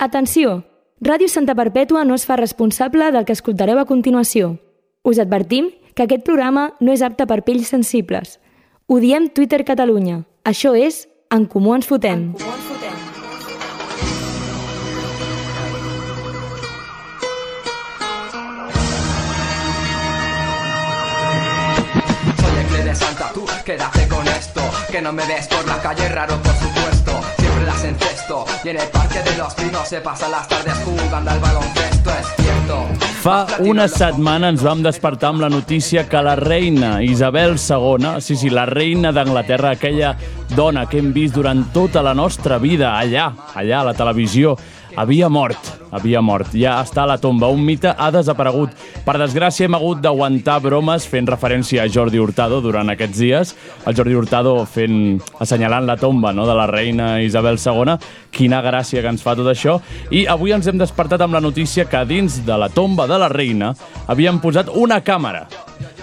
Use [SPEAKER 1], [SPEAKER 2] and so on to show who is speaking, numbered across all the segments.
[SPEAKER 1] Atenció! Ràdio Santa Perpètua no es fa responsable del que escoltareu a continuació. Us advertim que aquest programa no és apte per pells sensibles. Ho diem Twitter Catalunya. Això és En Comú Ens Fotem.
[SPEAKER 2] Soy el Cle de Santa, tú quédate con esto Que no me ves por la calle, raro por supuesto Siempre las encesto Y en el parque de los pinos se pasan las tardes jugando al baloncesto Es cierto
[SPEAKER 3] Fa una setmana ens vam despertar amb la notícia que la reina Isabel II, sí, sí, la reina d'Anglaterra, aquella dona que hem vist durant tota la nostra vida allà, allà a la televisió, havia mort, havia mort. Ja està a la tomba, un mite ha desaparegut. Per desgràcia hem hagut d'aguantar bromes fent referència a Jordi Hurtado durant aquests dies. El Jordi Hurtado fent, assenyalant la tomba no, de la reina Isabel II. Quina gràcia que ens fa tot això. I avui ens hem despertat amb la notícia que dins de la tomba de la reina havien posat una càmera.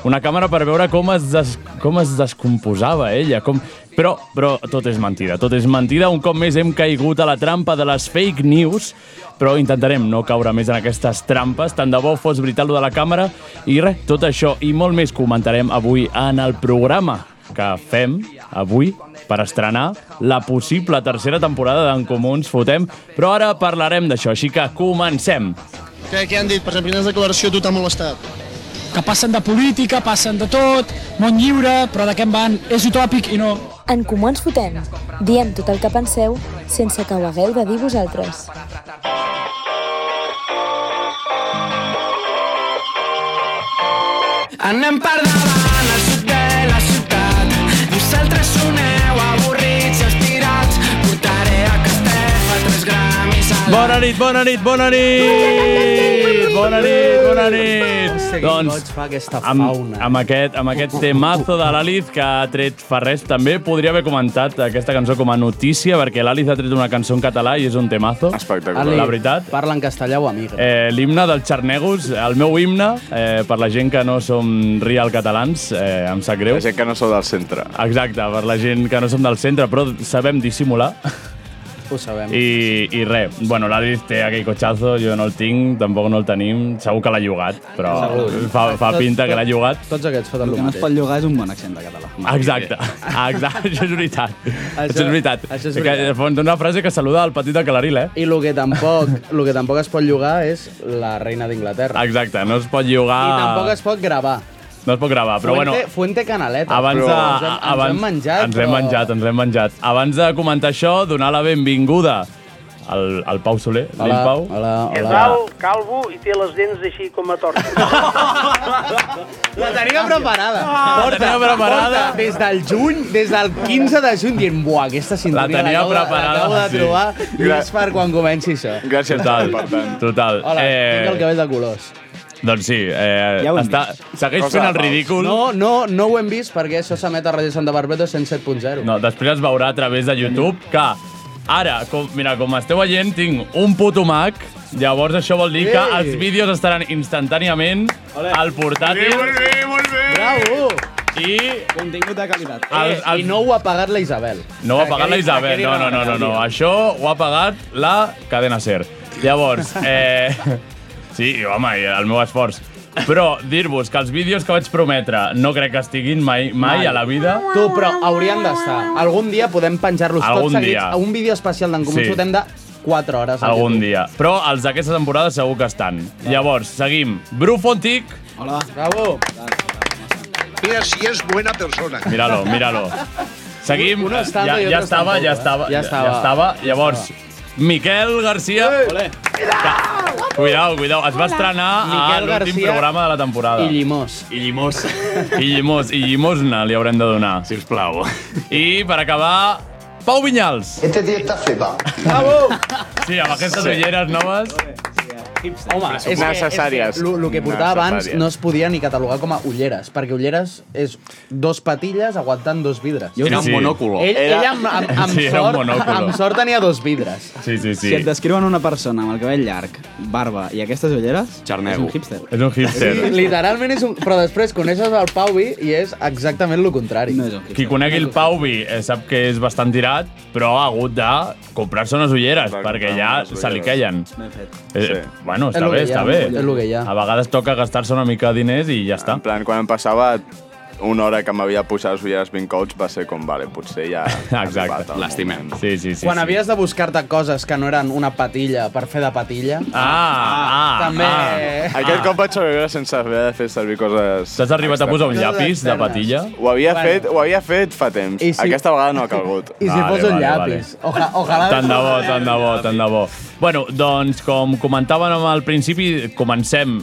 [SPEAKER 3] Una càmera per veure com es, des, com es descomposava ella. Com... Però, però tot és mentida, tot és mentida. Un cop més hem caigut a la trampa de les fake news, però intentarem no caure més en aquestes trampes. Tant de bo fos veritat lo de la càmera. I res, tot això i molt més comentarem avui en el programa que fem avui per estrenar la possible tercera temporada d'En Comú Ens Fotem, però ara parlarem d'això, així que comencem.
[SPEAKER 4] Què, què han dit? Per exemple, quina declaració a tu t'ha molestat?
[SPEAKER 5] que passen de política, passen de tot, món lliure, però de què en van? És utòpic i no.
[SPEAKER 6] En Comú Ens Fotem. Diem tot el que penseu sense que ho hagueu de dir vosaltres.
[SPEAKER 2] Anem per davant al sud de la ciutat Vosaltres soneu avorrits i estirats Portaré a Castefa tres gramis a
[SPEAKER 3] Bona nit, bona nit, bona nit! Bona nit, bona nit!
[SPEAKER 7] Doncs, fa aquesta
[SPEAKER 3] Amb,
[SPEAKER 7] fauna.
[SPEAKER 3] amb, aquest, amb aquest temazo de l'Àliz que ha tret Ferrés, també podria haver comentat aquesta cançó com a notícia, perquè l'Àliz ha tret una cançó en català i és un temazo.
[SPEAKER 8] Espectacular.
[SPEAKER 3] La veritat.
[SPEAKER 7] Parla en castellà o amiga. Eh.
[SPEAKER 3] Eh, L'himne dels xarnegos, el meu himne, eh, per la gent que no som real catalans, eh, em sap greu.
[SPEAKER 8] La gent que no sou del centre.
[SPEAKER 3] Exacte, per la gent que no som del centre, però sabem dissimular.
[SPEAKER 7] Ho sabem.
[SPEAKER 3] I, i res, bueno, l'Adri té aquell cotxazo, jo no el tinc, tampoc no el tenim, segur que l'ha llogat, però fa, fa pinta que l'ha llogat.
[SPEAKER 7] Tots aquests foten
[SPEAKER 9] El
[SPEAKER 7] lo
[SPEAKER 9] que no es
[SPEAKER 7] mateix.
[SPEAKER 9] pot llogar és un bon accent de català.
[SPEAKER 3] Exacte, exacte, això és veritat. Això, és veritat.
[SPEAKER 7] això és
[SPEAKER 3] Que,
[SPEAKER 7] veritat.
[SPEAKER 3] fons, una frase que saluda el petit de Calaril, eh?
[SPEAKER 7] I el que tampoc, lo que tampoc es pot llogar és la reina d'Inglaterra.
[SPEAKER 3] Exacte, no es pot
[SPEAKER 7] I
[SPEAKER 3] llogar...
[SPEAKER 7] tampoc es pot gravar.
[SPEAKER 3] No es pot gravar, ah. però
[SPEAKER 7] Fuente,
[SPEAKER 3] bueno...
[SPEAKER 7] Fuente Canaleta.
[SPEAKER 3] Abans de,
[SPEAKER 7] però ens, hem,
[SPEAKER 3] abans,
[SPEAKER 7] ens hem menjat.
[SPEAKER 3] Ens hem
[SPEAKER 7] però-
[SPEAKER 3] menjat, ens hem menjat. Abans de comentar això, donar la benvinguda al, al Pau Soler,
[SPEAKER 7] Hola,
[SPEAKER 3] Lil Pau.
[SPEAKER 7] hola,
[SPEAKER 10] És
[SPEAKER 7] hola.
[SPEAKER 10] blau, calvo i té les dents així com a tortes.
[SPEAKER 7] La tenia preparada.
[SPEAKER 3] Ah, la tenia preparada.
[SPEAKER 7] Porta, des del juny, des del 15 de juny, dient, buah, aquesta
[SPEAKER 3] La
[SPEAKER 7] sintonia
[SPEAKER 3] tenia
[SPEAKER 7] l'acabo de-
[SPEAKER 3] preparada,
[SPEAKER 7] l'acabo de
[SPEAKER 3] sí.
[SPEAKER 7] trobar i
[SPEAKER 8] Gra-
[SPEAKER 7] és per quan comenci això.
[SPEAKER 8] Gràcies,
[SPEAKER 3] Total,
[SPEAKER 8] per tant.
[SPEAKER 3] total.
[SPEAKER 7] Hola, eh... tinc el cabell de colors.
[SPEAKER 3] Doncs sí, eh,
[SPEAKER 9] Ja ho hem
[SPEAKER 3] està, segueix
[SPEAKER 8] Cosa
[SPEAKER 3] fent el
[SPEAKER 8] de Pau.
[SPEAKER 3] ridícul.
[SPEAKER 7] No, no, no ho hem vist perquè això s'emet a Ràdio Santa Barbeta 107.0.
[SPEAKER 3] no, després es veurà a través de YouTube que ara, com, mira, com esteu veient, tinc un puto Mac, llavors això vol dir que
[SPEAKER 7] Ei!
[SPEAKER 3] els vídeos estaran instantàniament al portàtil
[SPEAKER 7] Bravo!
[SPEAKER 3] i
[SPEAKER 9] Contingut de qualitat.
[SPEAKER 3] els,
[SPEAKER 7] Eh, I
[SPEAKER 3] els,
[SPEAKER 7] no ho ha pagat la Isabel.
[SPEAKER 3] No ho ha pagat la Isabel, no, no, no, no, no. Això ho ha pagat la cadena SER. Llavors, eh... Sí, home, i el meu esforç. Però dir-vos que els vídeos que vaig prometre no crec que estiguin mai, mai a la vida.
[SPEAKER 7] Tu, però haurien d'estar. Algun dia podem penjar-los
[SPEAKER 3] Algun
[SPEAKER 7] tots seguits
[SPEAKER 3] dia.
[SPEAKER 7] a un vídeo especial d'en Comú
[SPEAKER 3] Sí.
[SPEAKER 7] sí. Fotem de 4 hores. al
[SPEAKER 3] Algun
[SPEAKER 7] YouTube.
[SPEAKER 3] dia. Però els d'aquesta temporada segur que estan. Llavors, seguim. Bru Fontic,
[SPEAKER 9] Hola.
[SPEAKER 7] Bravo!
[SPEAKER 4] Mira si és bona persona.
[SPEAKER 3] míralo, míralo. Seguim.
[SPEAKER 7] Una estava
[SPEAKER 3] ja,
[SPEAKER 7] i
[SPEAKER 3] ja
[SPEAKER 7] otra
[SPEAKER 3] estava,
[SPEAKER 7] tampoc,
[SPEAKER 3] ja
[SPEAKER 7] eh?
[SPEAKER 3] estava,
[SPEAKER 7] Ja estava.
[SPEAKER 3] Ja estava. Llavors, Miquel Garcia.
[SPEAKER 9] Olé.
[SPEAKER 3] Cuidao, cuidao. Es va estrenar a
[SPEAKER 7] Miquel
[SPEAKER 3] l'últim
[SPEAKER 7] Garcia
[SPEAKER 3] programa de la temporada.
[SPEAKER 7] I Llimós.
[SPEAKER 3] I llimós. I llimós, i llimosna li haurem de donar. Si us plau. I per acabar, Pau Vinyals.
[SPEAKER 4] Este tio està flipat.
[SPEAKER 7] Bravo!
[SPEAKER 3] Sí, amb aquestes ulleres noves.
[SPEAKER 9] hipster.
[SPEAKER 7] Home, és
[SPEAKER 8] Necessàries.
[SPEAKER 7] El que, portava abans
[SPEAKER 8] Necessàries.
[SPEAKER 7] no es podia ni catalogar com a ulleres, perquè ulleres és dos patilles aguantant dos vidres.
[SPEAKER 9] Jo era
[SPEAKER 3] Sí,
[SPEAKER 9] un
[SPEAKER 3] sí.
[SPEAKER 9] monòculo.
[SPEAKER 7] Ell,
[SPEAKER 8] Era-
[SPEAKER 7] ell amb, amb, amb,
[SPEAKER 3] Sí, era un
[SPEAKER 7] sort,
[SPEAKER 3] monòculo.
[SPEAKER 7] amb sort tenia dos vidres.
[SPEAKER 3] Sí, sí, sí.
[SPEAKER 9] Si et descriuen una persona amb el cabell llarg, barba i aquestes ulleres,
[SPEAKER 8] Xarnego.
[SPEAKER 9] és un hipster.
[SPEAKER 3] És un hipster.
[SPEAKER 7] Literalment és un... Però després coneixes el Pauvi i és exactament el contrari.
[SPEAKER 9] No és un
[SPEAKER 3] Qui
[SPEAKER 9] hipster.
[SPEAKER 3] conegui el Pauvi eh, sap que és bastant tirat, però ha hagut de comprar-se unes ulleres,
[SPEAKER 8] Va
[SPEAKER 3] perquè
[SPEAKER 8] comprar
[SPEAKER 3] ja
[SPEAKER 8] unes
[SPEAKER 3] se li
[SPEAKER 8] ulleres.
[SPEAKER 3] queien.
[SPEAKER 9] Ben fet.
[SPEAKER 3] Eh,
[SPEAKER 8] Sí.
[SPEAKER 3] Bueno,
[SPEAKER 7] És
[SPEAKER 3] està
[SPEAKER 7] lo
[SPEAKER 3] bé,
[SPEAKER 7] que hi ha,
[SPEAKER 3] està bé.
[SPEAKER 7] és lo que hi ha.
[SPEAKER 3] A vegades toca gastar-se una mica de diners i ja està.
[SPEAKER 8] En plan, quan em passava una hora que m'havia posat les ulleres ben coats, va ser com, vale, potser ja... ha
[SPEAKER 3] Exacte.
[SPEAKER 8] arribat el
[SPEAKER 9] L'estimem.
[SPEAKER 8] moment.
[SPEAKER 3] Sí, sí, sí.
[SPEAKER 7] Quan
[SPEAKER 3] sí.
[SPEAKER 7] havies de buscar-te coses que no eren una patilla per fer de patilla,
[SPEAKER 3] Ah, ah,
[SPEAKER 7] també...
[SPEAKER 3] ah.
[SPEAKER 8] Aquest cop vaig sobreviure sense haver de fer servir coses...
[SPEAKER 3] T'has arribat a posar un
[SPEAKER 7] Coses
[SPEAKER 3] llapis de
[SPEAKER 7] externes.
[SPEAKER 3] patilla?
[SPEAKER 8] Ho havia,
[SPEAKER 7] Bueno.
[SPEAKER 8] fet, ho havia fet fa temps.
[SPEAKER 7] I si-
[SPEAKER 8] Aquesta vegada no ha calgut.
[SPEAKER 7] I si
[SPEAKER 3] Vale,
[SPEAKER 7] fos un
[SPEAKER 3] vale,
[SPEAKER 7] llapis.
[SPEAKER 3] vale.
[SPEAKER 7] Oja, ojalà...
[SPEAKER 3] Tant de bo, tant de bo, tant de bo. Bueno, doncs, com comentàvem al principi, comencem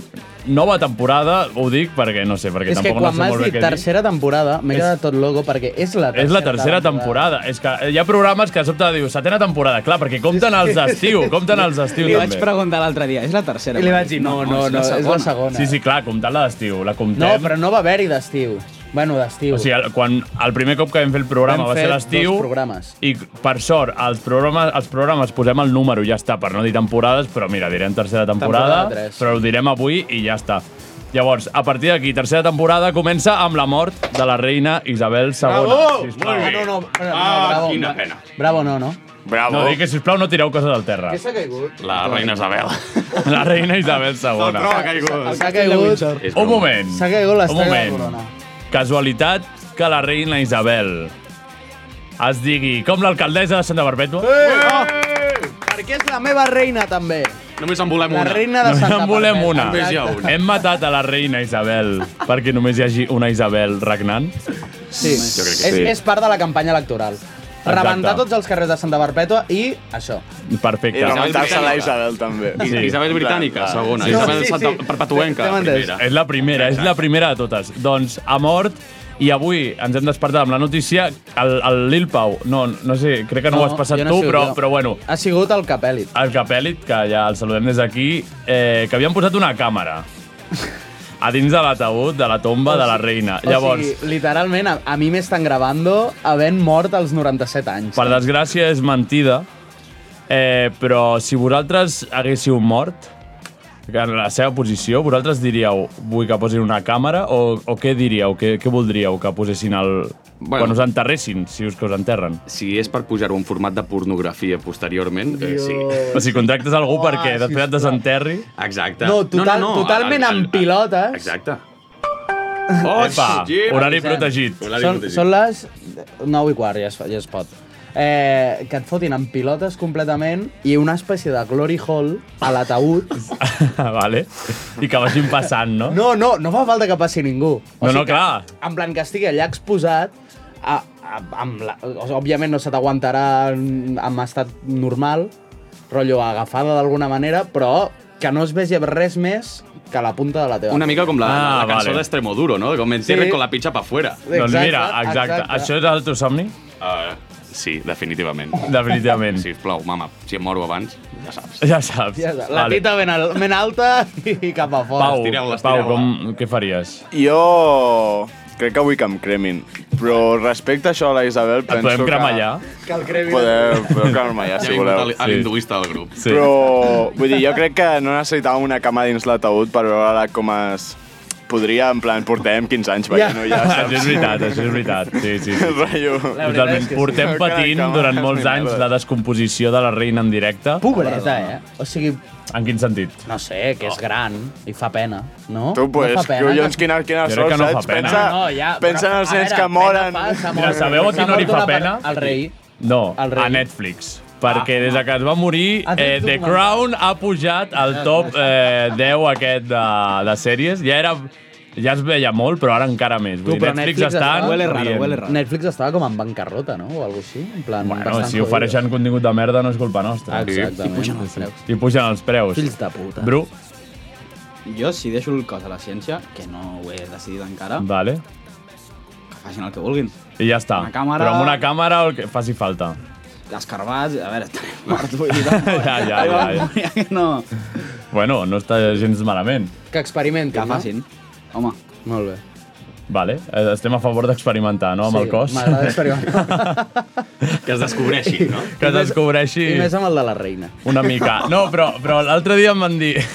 [SPEAKER 3] nova temporada, ho dic perquè no sé, perquè
[SPEAKER 7] És que
[SPEAKER 3] tampoc no
[SPEAKER 7] quan
[SPEAKER 3] sé
[SPEAKER 7] m'has
[SPEAKER 3] molt bé
[SPEAKER 7] dit
[SPEAKER 3] què dir.
[SPEAKER 7] tercera temporada, m'he quedat tot loco perquè és la tercera
[SPEAKER 3] És la tercera temporada. És que hi ha programes que de sobte dius, setena temporada, clar, perquè compten els d'estiu, compten els d'estiu
[SPEAKER 9] Li vaig
[SPEAKER 3] també.
[SPEAKER 9] preguntar l'altre dia, és la tercera?
[SPEAKER 7] I li vaig dir, no, no, no, és la segona.
[SPEAKER 3] Sí, sí, clar, comptant la d'estiu, la comptem.
[SPEAKER 7] No, però no va haver-hi d'estiu. Bueno, d'estiu.
[SPEAKER 3] O sigui, el- quan el primer cop que vam fer el programa
[SPEAKER 7] Vam
[SPEAKER 3] va
[SPEAKER 7] fer
[SPEAKER 3] ser l'estiu
[SPEAKER 7] dos programes.
[SPEAKER 3] i per sort els programes, els programes posem el número ja està, per no dir temporades, però mira, direm tercera temporada,
[SPEAKER 7] Temporada tres.
[SPEAKER 3] però ho direm avui i ja està. Llavors, a partir d'aquí, tercera temporada comença amb la mort de la reina Isabel II. sisplau.
[SPEAKER 7] Ah, no, no, no, no, bravo.
[SPEAKER 9] quina pena.
[SPEAKER 7] Bravo, no, no.
[SPEAKER 8] Bravo.
[SPEAKER 3] No, dic que, sisplau, no tireu coses al terra.
[SPEAKER 7] Què s'ha caigut?
[SPEAKER 9] La reina Isabel.
[SPEAKER 3] La reina Isabel II.
[SPEAKER 9] ha caigut.
[SPEAKER 7] S'ha caigut,
[SPEAKER 3] Un moment.
[SPEAKER 7] s'ha caigut
[SPEAKER 3] Un
[SPEAKER 7] l'estrella de la
[SPEAKER 3] moment.
[SPEAKER 7] corona.
[SPEAKER 3] Casualitat que la reina Isabel es digui com l'alcaldessa de Santa Barbètua.
[SPEAKER 7] Perquè és la meva reina, també.
[SPEAKER 9] Només en volem
[SPEAKER 7] La reina de
[SPEAKER 3] No
[SPEAKER 7] Santa
[SPEAKER 3] en volem
[SPEAKER 7] Perpètua.
[SPEAKER 3] una.
[SPEAKER 9] Només hi ha una.
[SPEAKER 3] Hem matat a la reina Isabel perquè només hi hagi una Isabel regnant.
[SPEAKER 7] Sí.
[SPEAKER 8] Jo crec que
[SPEAKER 7] És,
[SPEAKER 8] sí.
[SPEAKER 7] és part de la campanya electoral. Rebentar tots els carrers de Santa Barpètua i això.
[SPEAKER 8] I
[SPEAKER 3] Perfecte.
[SPEAKER 8] remuntar-se la Isabel, també.
[SPEAKER 3] Sí. Isabel
[SPEAKER 8] Britànica, segona.
[SPEAKER 7] No, Isabel sí, sí. Santa Perpetuenca, T'hem entès. primera.
[SPEAKER 3] És la primera, és la primera de totes. Doncs ha mort i avui ens hem despertat amb la notícia el, el Lil Pau. No, no sé, crec que no, no ho has passat
[SPEAKER 7] jo he
[SPEAKER 3] tu,
[SPEAKER 7] sigut
[SPEAKER 3] però,
[SPEAKER 7] jo.
[SPEAKER 3] però bueno,
[SPEAKER 7] Ha sigut el capèlit.
[SPEAKER 3] el Capèlit, que ja el saludem des d'aquí, eh, que havien posat una càmera a dins de l'ataúd de la tomba de la reina. Llavors,
[SPEAKER 7] O sigui, literalment, a, a mi m'estan gravando havent mort als 97 anys.
[SPEAKER 3] Per desgràcia és mentida, eh, però si vosaltres haguéssiu mort, que en la seva posició, vosaltres diríeu vull que posin una càmera o, o què diríeu, què, què voldríeu que posessin el... Bueno.
[SPEAKER 11] Bueno.
[SPEAKER 3] quan us enterressin, si us que us enterren?
[SPEAKER 11] Si és per pujar-ho en format de pornografia posteriorment, eh, Ah, sí.
[SPEAKER 3] O sigui, contractes algú oh, perquè després et desenterri...
[SPEAKER 11] Exacte.
[SPEAKER 7] No, total- totalment en eh. pilotes.
[SPEAKER 11] Exacte.
[SPEAKER 3] Oh, Epa,
[SPEAKER 11] sí,
[SPEAKER 3] horari
[SPEAKER 7] avisem.
[SPEAKER 3] protegit.
[SPEAKER 11] Hola,
[SPEAKER 7] Són,
[SPEAKER 11] Nicolau.
[SPEAKER 7] són les 9 i quart, ja es, fa- ja es pot. Eh, que et fotin amb pilotes completament i una espècie de glory hall a l'ataúd.
[SPEAKER 3] vale. I que vagin passant, no?
[SPEAKER 7] No, no, no fa falta que passi ningú. O
[SPEAKER 3] No, no,
[SPEAKER 7] que,
[SPEAKER 3] clar.
[SPEAKER 7] En plan que estigui allà exposat, a, a, amb la, o sigui, òbviament no se t'aguantarà en, en estat normal, rotllo agafada d'alguna manera, però que no es vegi res més que la punta de la teva.
[SPEAKER 11] Una mica com la,
[SPEAKER 3] Ah,
[SPEAKER 11] la cançó
[SPEAKER 3] vale.
[SPEAKER 11] d'Extremoduro, no? Com entierren
[SPEAKER 7] Sí.
[SPEAKER 11] con la picha pa fuera.
[SPEAKER 3] doncs mira, exacte. Això és el teu somni?
[SPEAKER 11] Uh, sí, definitivament.
[SPEAKER 3] Definitivament.
[SPEAKER 11] Si us plau, mama, si em moro abans, ja saps.
[SPEAKER 3] Ja saps.
[SPEAKER 7] Ja està, La tita ben, al, ben alta i cap a fora.
[SPEAKER 3] Pau,
[SPEAKER 11] Estireu-la,
[SPEAKER 3] Pau
[SPEAKER 11] estireu-la.
[SPEAKER 3] com, què faries?
[SPEAKER 8] Jo crec que vull que em cremin. Però respecte a això, la Isabel,
[SPEAKER 3] Et
[SPEAKER 8] penso
[SPEAKER 3] podem cremar allà?
[SPEAKER 7] Que el crevi.
[SPEAKER 8] Podeu, podeu cremar allà,
[SPEAKER 11] Ja
[SPEAKER 8] si
[SPEAKER 11] ha vingut
[SPEAKER 8] voleu.
[SPEAKER 11] el- l'induista del grup.
[SPEAKER 3] Sí.
[SPEAKER 8] Però, vull dir, jo crec que no necessitàvem una cama dins l'ataúd per veure com es... Podria, en plan, portem 15 anys veient-ho, ja,
[SPEAKER 3] Ah, això és
[SPEAKER 8] saps?
[SPEAKER 3] veritat, això és veritat. Sí, sí, sí.
[SPEAKER 8] Rotllo.
[SPEAKER 3] Totalment.
[SPEAKER 7] sí.
[SPEAKER 3] Portem
[SPEAKER 8] Crec que
[SPEAKER 3] patint
[SPEAKER 8] la cama
[SPEAKER 3] durant
[SPEAKER 8] és
[SPEAKER 3] molts
[SPEAKER 8] una
[SPEAKER 3] anys
[SPEAKER 8] merda.
[SPEAKER 3] la descomposició de la reina en directe.
[SPEAKER 7] Pobreta, eh? O sigui,
[SPEAKER 3] En quin sentit?
[SPEAKER 7] no sé, que és gran i fa pena, no?
[SPEAKER 8] Tu, pues,
[SPEAKER 7] no fa pena,
[SPEAKER 8] collons,
[SPEAKER 7] que...
[SPEAKER 8] quina, quina
[SPEAKER 3] Jo crec
[SPEAKER 8] sort,
[SPEAKER 3] que no fa
[SPEAKER 8] saps?
[SPEAKER 3] pena. eh?
[SPEAKER 8] Pensa,
[SPEAKER 7] No, no, ja,
[SPEAKER 8] pensa en
[SPEAKER 7] però,
[SPEAKER 8] els
[SPEAKER 7] a
[SPEAKER 8] nens
[SPEAKER 7] veure,
[SPEAKER 8] que
[SPEAKER 7] pena
[SPEAKER 8] moren.
[SPEAKER 7] fa, s'ha
[SPEAKER 3] Mira,
[SPEAKER 7] mort-
[SPEAKER 3] sabeu a
[SPEAKER 7] s'ha
[SPEAKER 3] qui no li
[SPEAKER 7] mort
[SPEAKER 3] fa
[SPEAKER 7] una per-
[SPEAKER 3] pena?
[SPEAKER 7] Al rei.
[SPEAKER 3] No,
[SPEAKER 7] El rei. Ah.
[SPEAKER 3] a Netflix. Perquè des de que es va morir,
[SPEAKER 7] Ha tret
[SPEAKER 3] eh,
[SPEAKER 7] un
[SPEAKER 3] The
[SPEAKER 7] mandat.
[SPEAKER 3] Crown ha pujat al top eh, 10 aquest de, de sèries. Ja era ja es veia molt, però ara encara més. Vull
[SPEAKER 7] Tu,
[SPEAKER 3] dir,
[SPEAKER 7] però
[SPEAKER 3] Netflix,
[SPEAKER 7] Netflix
[SPEAKER 3] està...
[SPEAKER 7] està- Huele
[SPEAKER 9] raro, huele raro.
[SPEAKER 7] Netflix estava com en bancarrota, no? O alguna així. En plan,
[SPEAKER 3] Bueno,
[SPEAKER 7] bastant
[SPEAKER 3] si
[SPEAKER 7] jodido.
[SPEAKER 3] ofereixen contingut de merda no és culpa nostra.
[SPEAKER 7] Exactament. I pugen els preus.
[SPEAKER 3] I pugen els preus.
[SPEAKER 7] Fills de puta.
[SPEAKER 3] Bru,
[SPEAKER 9] Jo, si deixo el cos a la ciència, que no ho he decidit encara,
[SPEAKER 3] vale.
[SPEAKER 9] que facin el que vulguin.
[SPEAKER 3] I ja està.
[SPEAKER 9] Una càmera-
[SPEAKER 3] Però amb una càmera el que faci falta.
[SPEAKER 9] Escarbats, a veure, estaré mort, vull dir... tampoc-
[SPEAKER 3] Ja, ja, ja, ja.
[SPEAKER 9] que no...
[SPEAKER 3] Bueno, no està gens malament.
[SPEAKER 7] Que experimentin,
[SPEAKER 3] Que facin.
[SPEAKER 7] no?
[SPEAKER 9] Home.
[SPEAKER 7] Molt bé.
[SPEAKER 3] Vale, eh, estem a favor d'experimentar, no?, amb
[SPEAKER 7] Sí,
[SPEAKER 3] el cos.
[SPEAKER 7] m'agrada experimentar.
[SPEAKER 3] que es descobreixi, no? Que es descobreixi...
[SPEAKER 7] I més amb el de la reina.
[SPEAKER 3] Una mica. No, però, però l'altre dia em van dir...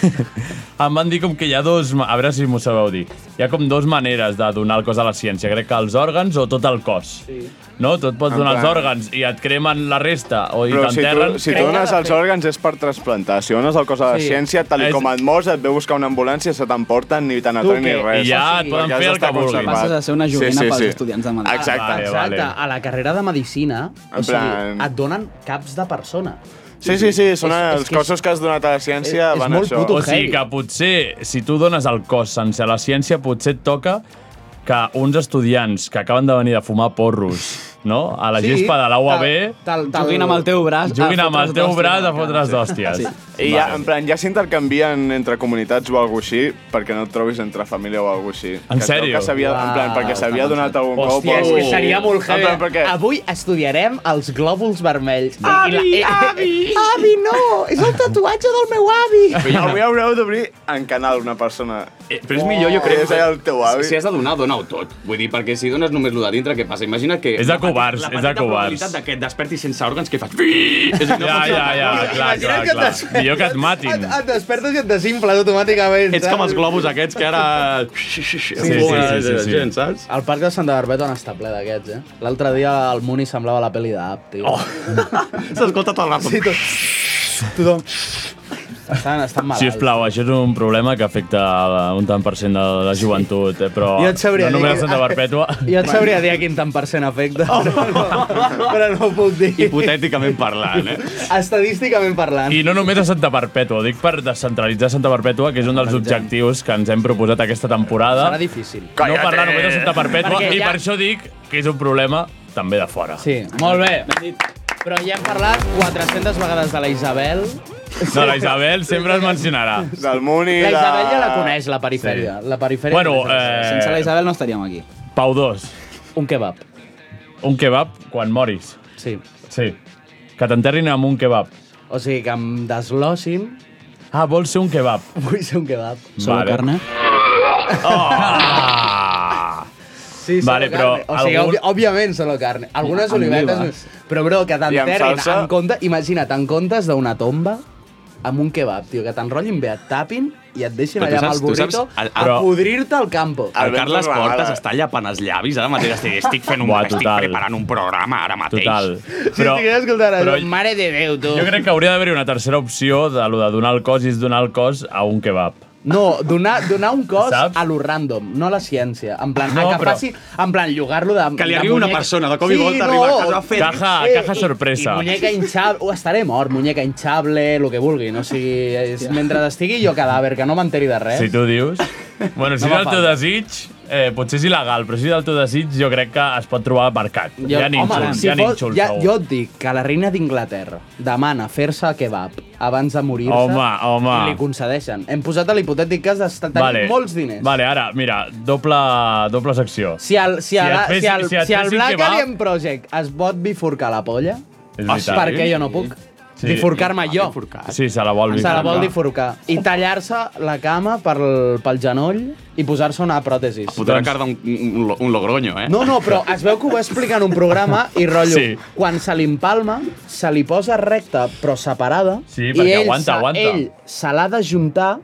[SPEAKER 3] em van dir com que hi ha dos... ma- A veure si m'ho sabeu dir. Hi ha com dos maneres de donar el cos a la ciència. Crec que els òrgans o tot el cos. Sí. No? Tu et pots
[SPEAKER 8] En
[SPEAKER 3] donar els
[SPEAKER 8] plan-
[SPEAKER 3] òrgans i et cremen la resta o i
[SPEAKER 8] Però si
[SPEAKER 3] t'enterren...
[SPEAKER 8] tu, si tu dones els òrgans és per trasplantar. Si dones el cos a la
[SPEAKER 3] Sí.
[SPEAKER 8] ciència, tal i
[SPEAKER 3] És-
[SPEAKER 8] com et mors, et ve a buscar una ambulància, se t'emporten, ni t'anatoren ni res.
[SPEAKER 3] I ja et poden
[SPEAKER 8] Perquè has
[SPEAKER 3] fer el
[SPEAKER 8] d'estar
[SPEAKER 3] que vulguin. Ah,
[SPEAKER 8] conservat. Exacte.
[SPEAKER 7] Exacte, a la carrera de Medicina,
[SPEAKER 8] En
[SPEAKER 7] o sigui,
[SPEAKER 8] plan-
[SPEAKER 7] et donen caps de persona.
[SPEAKER 8] Sí, sí, sí, són
[SPEAKER 7] És- és
[SPEAKER 8] els
[SPEAKER 7] que és-
[SPEAKER 8] cossos que has donat a la ciència
[SPEAKER 7] és
[SPEAKER 8] van
[SPEAKER 7] molt
[SPEAKER 8] a això.
[SPEAKER 3] O sigui que potser, si tu dones el cos sense la ciència, potser et toca que uns estudiants que acaben de venir de fumar porros, no?, a la
[SPEAKER 8] Sí,
[SPEAKER 3] gespa de la UAB...
[SPEAKER 7] Tal,
[SPEAKER 9] tal- Juguin amb el teu braç a
[SPEAKER 3] Juguin amb el
[SPEAKER 9] fotre's
[SPEAKER 3] teu
[SPEAKER 9] d'hòsties
[SPEAKER 3] braç
[SPEAKER 9] a
[SPEAKER 3] a
[SPEAKER 9] la
[SPEAKER 3] fotre's
[SPEAKER 9] cara, sí.
[SPEAKER 3] d'hòsties.
[SPEAKER 8] I ja, en plan, ja s'intercanvien entre comunitats o alguna així perquè no et trobis entre família o alguna així.
[SPEAKER 3] En
[SPEAKER 8] que es veu
[SPEAKER 3] sèrio?
[SPEAKER 8] Que s'havia, en plan,
[SPEAKER 3] Uau,
[SPEAKER 8] perquè s'havia
[SPEAKER 3] que
[SPEAKER 8] donat
[SPEAKER 3] avançat.
[SPEAKER 8] algun cop.
[SPEAKER 7] Hòstia,
[SPEAKER 8] o
[SPEAKER 7] és que
[SPEAKER 8] alguna-
[SPEAKER 7] seria molt
[SPEAKER 8] En
[SPEAKER 7] heavy.
[SPEAKER 8] plan, perquè
[SPEAKER 7] Eh, Avui estudiarem els glòbuls vermells. I la- eh,
[SPEAKER 12] Avi, no! És el tatuatge del meu avi!
[SPEAKER 7] Ah,
[SPEAKER 8] avui haureu d'obrir en canal una persona.
[SPEAKER 11] Eh, Però és millor, jo crec...
[SPEAKER 8] És el teu avi.
[SPEAKER 11] Si has de donar, dona-ho tot. Vull dir, perquè si dones només lo de dintre, què passa? Imagina que...
[SPEAKER 3] És de covards, és de covards.
[SPEAKER 11] La petita probabilitat de que et despertis sense òrgans, que fas... És
[SPEAKER 3] Ja, ja, ja, clar, Ah, clar,
[SPEAKER 7] que et
[SPEAKER 3] clar.
[SPEAKER 7] despertes-
[SPEAKER 3] Millor que et matin.
[SPEAKER 7] Et despertes i et desinfles automàticament. eh?
[SPEAKER 11] Ets com els globus aquests que ara... Gent, saps?
[SPEAKER 7] El parc de Santa Barbeta on està ple d'aquests, eh? L'altre dia el Muni semblava la pel·li d'App, tio. Oh.
[SPEAKER 11] S'escolta tot el rato.
[SPEAKER 7] Sí, tot... Tothom... Estan, estan malalts.
[SPEAKER 3] Si us plau, això és un problema que afecta a un tant per cent de la joventut, eh, però
[SPEAKER 7] Jo et sabria
[SPEAKER 3] no
[SPEAKER 7] dir
[SPEAKER 3] només a
[SPEAKER 7] que-
[SPEAKER 3] Santa Perpètua.
[SPEAKER 7] Jo et sabria dir a quin tant per cent afecta, oh. però, no, però no ho puc dir.
[SPEAKER 11] Hipotèticament parlant, eh?
[SPEAKER 7] Estadísticament parlant.
[SPEAKER 3] I no només a Santa Perpètua, ho dic per descentralitzar Santa Perpètua, que és un dels objectius que ens hem proposat aquesta temporada.
[SPEAKER 7] Serà difícil.
[SPEAKER 3] No parlar només de Santa Perpètua,
[SPEAKER 7] Perquè
[SPEAKER 3] i
[SPEAKER 7] ja-
[SPEAKER 3] per això dic que és un problema també de fora.
[SPEAKER 7] Sí, molt bé. Però ja hem parlat 400 vegades de la Isabel.
[SPEAKER 3] No, la Isabel sempre es mencionarà.
[SPEAKER 8] Del Muni,
[SPEAKER 7] La Isabel ja la coneix, la perifèria. Sí. La perifèria
[SPEAKER 3] Bueno,
[SPEAKER 7] coneix la Isabel.
[SPEAKER 3] eh, Sense la
[SPEAKER 7] Isabel no estaríem aquí.
[SPEAKER 3] Pau 2.
[SPEAKER 7] Un kebab.
[SPEAKER 3] Un kebab quan moris.
[SPEAKER 7] Sí.
[SPEAKER 3] Sí. Que t'enterrin amb un kebab.
[SPEAKER 7] O sigui, que em deslossin...
[SPEAKER 3] Ah, vols ser un kebab.
[SPEAKER 7] Vull ser un kebab.
[SPEAKER 3] Solo Vale. carne? Ah!
[SPEAKER 7] Sí, solo
[SPEAKER 3] Vale, però
[SPEAKER 7] carne. O sigui,
[SPEAKER 3] algun-
[SPEAKER 7] algun... òbviament solo carne. Algunes
[SPEAKER 3] Amb
[SPEAKER 7] olivetes...
[SPEAKER 3] olives.
[SPEAKER 7] Però, bro, que
[SPEAKER 3] I
[SPEAKER 7] t'enterrin
[SPEAKER 3] amb salsa?
[SPEAKER 7] en compte... Imagina't, en comptes d'una tomba amb un kebab, tio, que t'enrotllin bé, et tapin i et deixin
[SPEAKER 11] Però tu
[SPEAKER 7] allà amb el
[SPEAKER 11] saps- tu saps-
[SPEAKER 7] burrito
[SPEAKER 11] el-
[SPEAKER 7] a
[SPEAKER 11] però- Ah,
[SPEAKER 7] podrir-te al campo.
[SPEAKER 11] El Carles Portes està llapant els llavis ara mateix. Estic, estic fent un...
[SPEAKER 3] Buah,
[SPEAKER 11] estic
[SPEAKER 3] total.
[SPEAKER 11] preparant un programa ara mateix.
[SPEAKER 3] Total.
[SPEAKER 7] Però, si escoltant,
[SPEAKER 3] però-
[SPEAKER 7] però, mare de Déu, tu.
[SPEAKER 3] Jo crec que hauria d'haver-hi una tercera opció de lo de donar el cos i és donar el cos a un kebab.
[SPEAKER 7] No, donar, donar un cos Saps? a lo random, no a la ciència. En plan,
[SPEAKER 3] No,
[SPEAKER 7] no, que
[SPEAKER 3] però-
[SPEAKER 7] però... faci... En plan, llogar-lo de...
[SPEAKER 11] Ah, Que li
[SPEAKER 7] de
[SPEAKER 11] arribi una
[SPEAKER 7] muñeca.
[SPEAKER 11] persona, de cop i volta arriba a casa fet-
[SPEAKER 3] Ah,
[SPEAKER 11] Caja-
[SPEAKER 7] Eh,
[SPEAKER 11] caja
[SPEAKER 7] i- I,
[SPEAKER 11] sorpresa.
[SPEAKER 7] muñeca hinchable, o estaré mort, muñeca hinchable, el que vulguin. O sigui, és, mentre estigui jo cadàver, que no m'enteri de res.
[SPEAKER 3] Si tu dius... Bueno, si no és el
[SPEAKER 7] eh? No fa
[SPEAKER 3] teu
[SPEAKER 7] falta.
[SPEAKER 3] desig, eh, potser és il·legal, però si és el teu desig, jo crec que es pot trobar al mercat. Jo, hi ha nínxols, hi ha nínxols,
[SPEAKER 7] ja,
[SPEAKER 3] segur.
[SPEAKER 7] jo et dic que la reina d'Inglaterra demana fer-se kebab abans de morir-se
[SPEAKER 3] Home, home.
[SPEAKER 7] i li concedeixen. Hem posat a l'hipotètic cas d'estar tenint
[SPEAKER 3] Vale.
[SPEAKER 7] molts diners.
[SPEAKER 3] Vale, ara, mira, doble, doble secció.
[SPEAKER 7] Si al, si,
[SPEAKER 3] et
[SPEAKER 7] a, si,
[SPEAKER 3] fes-
[SPEAKER 7] si, al, si,
[SPEAKER 3] et
[SPEAKER 7] si al
[SPEAKER 3] fessin
[SPEAKER 7] Black
[SPEAKER 3] kebab-
[SPEAKER 7] Alien Project es pot bifurcar la polla,
[SPEAKER 3] És veritat.
[SPEAKER 7] perquè jo no puc
[SPEAKER 3] Sí.
[SPEAKER 7] sí. bifurcar-me jo.
[SPEAKER 3] Sí, se la vol
[SPEAKER 7] Se la
[SPEAKER 3] bifurcar.
[SPEAKER 7] vol bifurcar. I tallar-se la cama pel, pel genoll i posar-se una pròtesi.
[SPEAKER 11] Fotrà doncs... carda un, un, lo- un logroño, eh?
[SPEAKER 7] No, no, però es veu que ho va explicar en un programa i rotllo,
[SPEAKER 11] Sí.
[SPEAKER 7] sí. quan se l'empalma, se li posa recta però separada
[SPEAKER 3] Sí,
[SPEAKER 7] i
[SPEAKER 3] perquè
[SPEAKER 7] ell,
[SPEAKER 3] aguanta,
[SPEAKER 7] se,
[SPEAKER 3] aguanta.
[SPEAKER 7] ell se l'ha d'ajuntar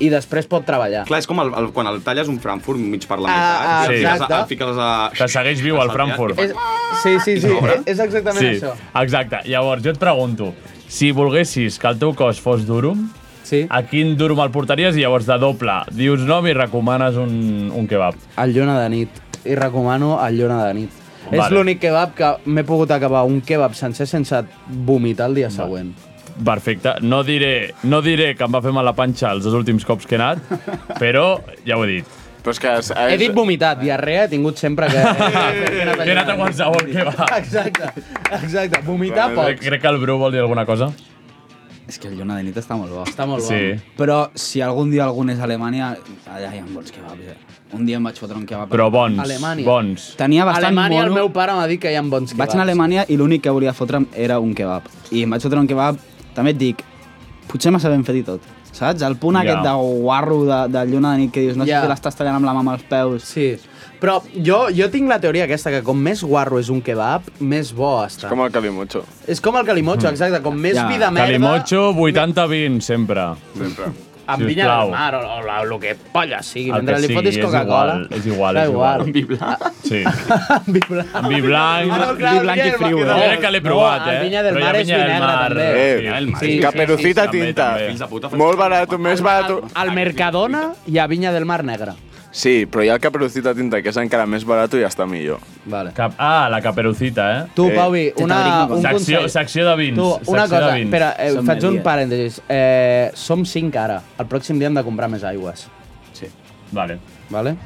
[SPEAKER 7] i després pot treballar.
[SPEAKER 11] Clar, és com el, el, quan el talles un Frankfurt mig per la
[SPEAKER 7] Ah,
[SPEAKER 11] meitat.
[SPEAKER 7] ah,
[SPEAKER 11] i el fiques a-
[SPEAKER 7] exacte.
[SPEAKER 11] el Fiques a...
[SPEAKER 3] Que segueix viu al Frankfurt.
[SPEAKER 7] És, sí, sí, sí, és exactament
[SPEAKER 3] Sí,
[SPEAKER 7] això.
[SPEAKER 3] exacte. Llavors, jo et pregunto, si volguessis que el teu cos fos durum,
[SPEAKER 7] sí.
[SPEAKER 3] a quin durum el portaries i llavors de doble dius nom i recomanes un, un kebab?
[SPEAKER 7] El Lluna de nit. I recomano el Lluna de nit.
[SPEAKER 3] Vale.
[SPEAKER 7] Vale. És l'únic kebab que m'he pogut acabar un kebab sencer sense vomitar el dia següent.
[SPEAKER 3] Perfecte. No diré, no diré que em va fer mal la panxa els dos últims cops que he anat, però ja ho he dit.
[SPEAKER 8] Però és que... És,
[SPEAKER 7] He dit vomitat, diarrea he tingut sempre que...
[SPEAKER 3] He anat a qualsevol kebab.
[SPEAKER 7] Exacte, exacte. Vomitar
[SPEAKER 3] Crec,
[SPEAKER 7] poc.
[SPEAKER 3] crec que el Bru vol dir alguna cosa.
[SPEAKER 9] És que el Lluna de nit està molt bo.
[SPEAKER 7] Està
[SPEAKER 3] molt bo. Sí.
[SPEAKER 9] Però si algun dia algun és a Alemanya, allà hi ha bons kebabs. Eh? Un dia em vaig fotre un kebab.
[SPEAKER 3] Però bons,
[SPEAKER 9] Alemanya.
[SPEAKER 3] bons.
[SPEAKER 9] Tenia bastant
[SPEAKER 7] Alemanya,
[SPEAKER 9] mono.
[SPEAKER 7] el meu pare m'ha dit que hi ha bons kebabs.
[SPEAKER 9] Vaig anar a Alemanya i l'únic que volia fotre'm era un kebab. I em vaig fotre un kebab, també et dic, potser massa ben fet i tot. Saps? El punt
[SPEAKER 7] Ja.
[SPEAKER 9] aquest de guarro de, de lluna de nit que dius, no
[SPEAKER 7] Ja.
[SPEAKER 9] sé si l'estàs tallant amb la mà amb els peus.
[SPEAKER 7] Sí. Però jo, jo tinc la teoria aquesta, que com més guarro és un kebab, més bo està.
[SPEAKER 8] Com el calimocho.
[SPEAKER 7] És com el calimocho, exacte. Com més ja. vida merda...
[SPEAKER 3] Calimocho, 80-20, sempre.
[SPEAKER 8] Sempre.
[SPEAKER 7] Amb vinya de la mar, o, o, la- o el que polla sigui.
[SPEAKER 3] El
[SPEAKER 7] Mentre
[SPEAKER 3] que
[SPEAKER 7] li fotis
[SPEAKER 3] sigui, és
[SPEAKER 7] Coca-Cola...
[SPEAKER 3] igual, és igual,
[SPEAKER 7] Da
[SPEAKER 3] és igual. Amb
[SPEAKER 11] vi blanc.
[SPEAKER 9] Ah.
[SPEAKER 3] Sí. Amb vi blanc.
[SPEAKER 7] Ah, no, clar, Vi blanc i el vi friu, del eh? mar.
[SPEAKER 3] Jo crec que l'he
[SPEAKER 7] No,
[SPEAKER 3] provat,
[SPEAKER 7] el
[SPEAKER 3] eh?
[SPEAKER 7] vinya del
[SPEAKER 3] Però hi ha
[SPEAKER 7] mar és
[SPEAKER 3] vinya
[SPEAKER 7] vi
[SPEAKER 3] del
[SPEAKER 7] negre,
[SPEAKER 3] mar,
[SPEAKER 7] també.
[SPEAKER 3] eh,
[SPEAKER 8] Eh,
[SPEAKER 3] vinya del mar.
[SPEAKER 8] sí, caperucita tinta.
[SPEAKER 3] Fins a puta.
[SPEAKER 8] Molt barat, més barat.
[SPEAKER 7] Al Mercadona hi ha vinya del mar negra.
[SPEAKER 8] Sí, però hi ha el caperucita tinta, que és encara més barat i està millor.
[SPEAKER 7] Vale.
[SPEAKER 3] Cap, ah, la caperucita, eh?
[SPEAKER 7] Tu, Pauvi, una, un
[SPEAKER 3] secció,
[SPEAKER 7] consell.
[SPEAKER 3] secció de vins.
[SPEAKER 7] Tu, una
[SPEAKER 3] secció
[SPEAKER 7] cosa,
[SPEAKER 3] de vins.
[SPEAKER 7] espera, eh, faig un parèntesis. Eh, som cinc ara. El pròxim dia hem de comprar més aigües.
[SPEAKER 9] Sí.
[SPEAKER 3] Vale.
[SPEAKER 7] Vale?